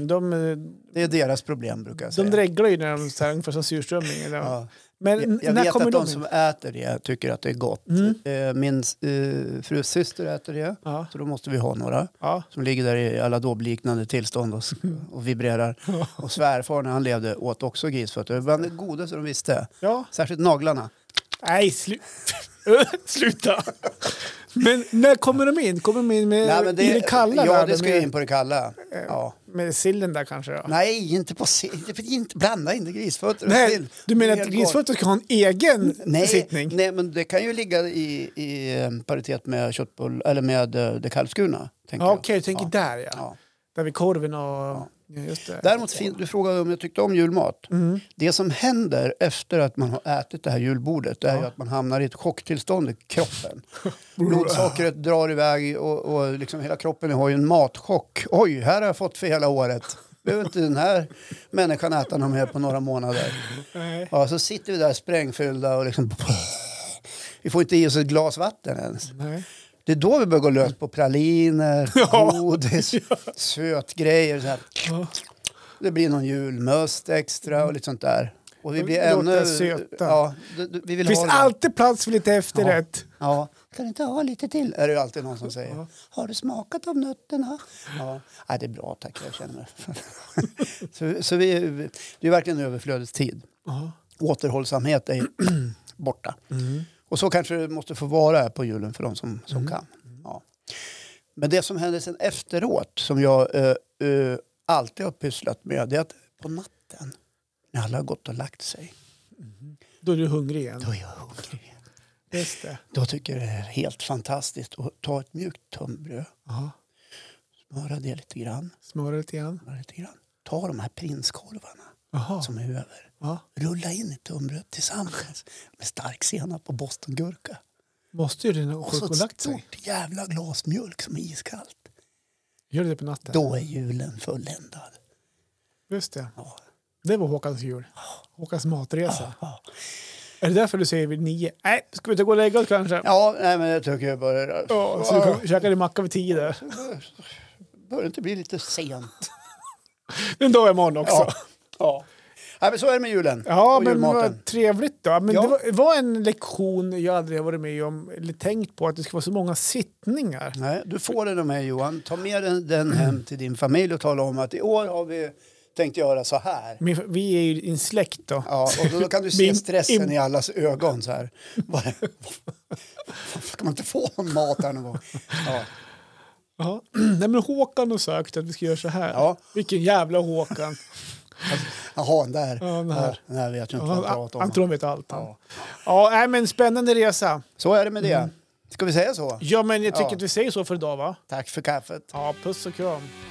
[SPEAKER 2] De, eh,
[SPEAKER 1] det är deras problem brukar jag säga.
[SPEAKER 2] de dreglar ju när de så här, ungefär som surströmming. Eller?
[SPEAKER 1] ja.
[SPEAKER 2] Men
[SPEAKER 1] Jag, jag
[SPEAKER 2] när
[SPEAKER 1] vet
[SPEAKER 2] kommer
[SPEAKER 1] att de
[SPEAKER 2] in?
[SPEAKER 1] som äter det tycker att det är gott.
[SPEAKER 2] Mm.
[SPEAKER 1] Eh, Min eh, frus syster äter det,
[SPEAKER 2] Ja.
[SPEAKER 1] så då måste vi ha några
[SPEAKER 2] Ja.
[SPEAKER 1] som ligger där i aladobliknande tillstånd och, s-
[SPEAKER 2] Mm.
[SPEAKER 1] och vibrerar. Och svärfar när han levde åt också grisfötter. Det var bland det godaste de visste,
[SPEAKER 2] ja.
[SPEAKER 1] särskilt naglarna.
[SPEAKER 2] Nej, slu sluta. men när kommer de in? Kommer de in med,
[SPEAKER 1] Nej, men
[SPEAKER 2] Eh, i det kalla?
[SPEAKER 1] ja,
[SPEAKER 2] där,
[SPEAKER 1] det ska ju
[SPEAKER 2] med,
[SPEAKER 1] in på det kalla. Ja.
[SPEAKER 2] med sillen där kanske? Ja.
[SPEAKER 1] Nej, inte på sill. Inte- inte- Blanda inte grisfötter och
[SPEAKER 2] Nej,
[SPEAKER 1] sill.
[SPEAKER 2] du menar
[SPEAKER 1] Det är
[SPEAKER 2] att
[SPEAKER 1] helt galet.
[SPEAKER 2] grisfötter ska ha en egen
[SPEAKER 1] Nej,
[SPEAKER 2] besittning?
[SPEAKER 1] nej, men det kan ju ligga i, i eh, paritet med köttbull, eller med eh, det kalvskurna. tänker
[SPEAKER 2] Ja,
[SPEAKER 1] jag.
[SPEAKER 2] Okej, du tänker där ja.
[SPEAKER 1] Ja.
[SPEAKER 2] Där vid korven och... Ja, just det.
[SPEAKER 1] Däremot, fin- du frågade om jag tyckte om julmat.
[SPEAKER 2] Mm.
[SPEAKER 1] Det som händer efter att man har ätit det här julbordet är ju att man hamnar i ett chocktillstånd i kroppen. Blodsockret drar iväg och, och liksom hela kroppen har ju en matchock. Oj, här har jag fått för hela året. Behöver inte den här människan äta något mer på några månader.
[SPEAKER 2] Nej.
[SPEAKER 1] Ja, så sitter vi där sprängfyllda och liksom... Vi får inte i oss ett glas vatten ens.
[SPEAKER 2] Nej.
[SPEAKER 1] Det är då vi börjar gå lös på praliner,
[SPEAKER 2] Ja.
[SPEAKER 1] godis, sötgrejer. Så här.
[SPEAKER 2] Ja.
[SPEAKER 1] Det blir någon julmust extra och lite sånt där. Och vi blir
[SPEAKER 2] Det låter
[SPEAKER 1] ännu...
[SPEAKER 2] söta.
[SPEAKER 1] Ja, d- d- vi vill
[SPEAKER 2] Det finns
[SPEAKER 1] ha det.
[SPEAKER 2] alltid plats för lite efterrätt.
[SPEAKER 1] Ja. Kan du inte ha lite till? Är det ju alltid någon som säger. Har du smakat av nötterna? Ja. Nej, det är bra tack, jag känner mig. så, så vi, det är verkligen överflödets tid.
[SPEAKER 2] Ja.
[SPEAKER 1] Återhållsamhet är borta. Och så kanske det måste få vara här på julen för de som, som kan. Ja. Men det som händer sen efteråt, som jag eh, eh, alltid har pysslat med, det är att på natten när alla har gått och lagt sig,
[SPEAKER 2] Då är du hungrig igen.
[SPEAKER 1] då är jag hungrig. igen.
[SPEAKER 2] Just det.
[SPEAKER 1] Då tycker jag det är helt fantastiskt att ta ett mjukt tunnbröd,
[SPEAKER 2] Ja.
[SPEAKER 1] Smöra det lite grann.
[SPEAKER 2] Smöra lite grann.
[SPEAKER 1] smöra Lite grann. Ta de här prinskorvarna
[SPEAKER 2] Jaha.
[SPEAKER 1] som är över.
[SPEAKER 2] Ja.
[SPEAKER 1] Rulla in i tunnbröd tillsammans med stark senap och bostongurka.
[SPEAKER 2] Måste ju det när
[SPEAKER 1] Och så
[SPEAKER 2] sjukvården
[SPEAKER 1] ett
[SPEAKER 2] lagt sig.
[SPEAKER 1] stort jävla glas mjölk som är iskallt.
[SPEAKER 2] Gör det på natten.
[SPEAKER 1] Då är julen fulländad.
[SPEAKER 2] Just det.
[SPEAKER 1] Ja.
[SPEAKER 2] Det var Håkans jul. Håkans matresa.
[SPEAKER 1] Ja.
[SPEAKER 2] Är det därför du säger vid nio? Nej, ska vi inte gå och lägga oss kanske?
[SPEAKER 1] Ja, nej, men jag tycker jag börjar...
[SPEAKER 2] Ja, så du kom- käkade din macka vid tio där.
[SPEAKER 1] Börjar inte bli lite sent?
[SPEAKER 2] En dag imorgon också.
[SPEAKER 1] Ja.
[SPEAKER 2] Ja,
[SPEAKER 1] ja. Nej, men så är det med julen och
[SPEAKER 2] men
[SPEAKER 1] julmaten.
[SPEAKER 2] vad trevligt då. Men
[SPEAKER 1] Ja.
[SPEAKER 2] det var, var en lektion jag aldrig har varit med om eller tänkt på att det ska vara så många sittningar.
[SPEAKER 1] Nej, du får den med Johan. Ta med den, den hem till din familj och tala om att i år har vi tänkt göra så här.
[SPEAKER 2] Min, vi är ju i en släkt då.
[SPEAKER 1] Ja, och då, då kan du se
[SPEAKER 2] Min-
[SPEAKER 1] stressen
[SPEAKER 2] im-
[SPEAKER 1] i allas ögon så här. Bara, ska man inte få någon mat här någon gång? Ja,
[SPEAKER 2] Ja. Nej, men Håkan har sagt att vi ska göra så här.
[SPEAKER 1] Ja.
[SPEAKER 2] Vilken jävla Håkan.
[SPEAKER 1] jaha, den där.
[SPEAKER 2] Ja, den
[SPEAKER 1] Ja,
[SPEAKER 2] här.
[SPEAKER 1] den här vet jag inte vad
[SPEAKER 2] Han,
[SPEAKER 1] jag pratar
[SPEAKER 2] han,
[SPEAKER 1] om.
[SPEAKER 2] tror han vet allt. Han.
[SPEAKER 1] Ja.
[SPEAKER 2] Ja. Ja, nej, men spännande resa.
[SPEAKER 1] Så är det med det. Ska vi säga så?
[SPEAKER 2] Ja, men jag tycker
[SPEAKER 1] Ja.
[SPEAKER 2] att vi säger så för idag va?
[SPEAKER 1] Tack för kaffet.
[SPEAKER 2] Ja, puss och kram.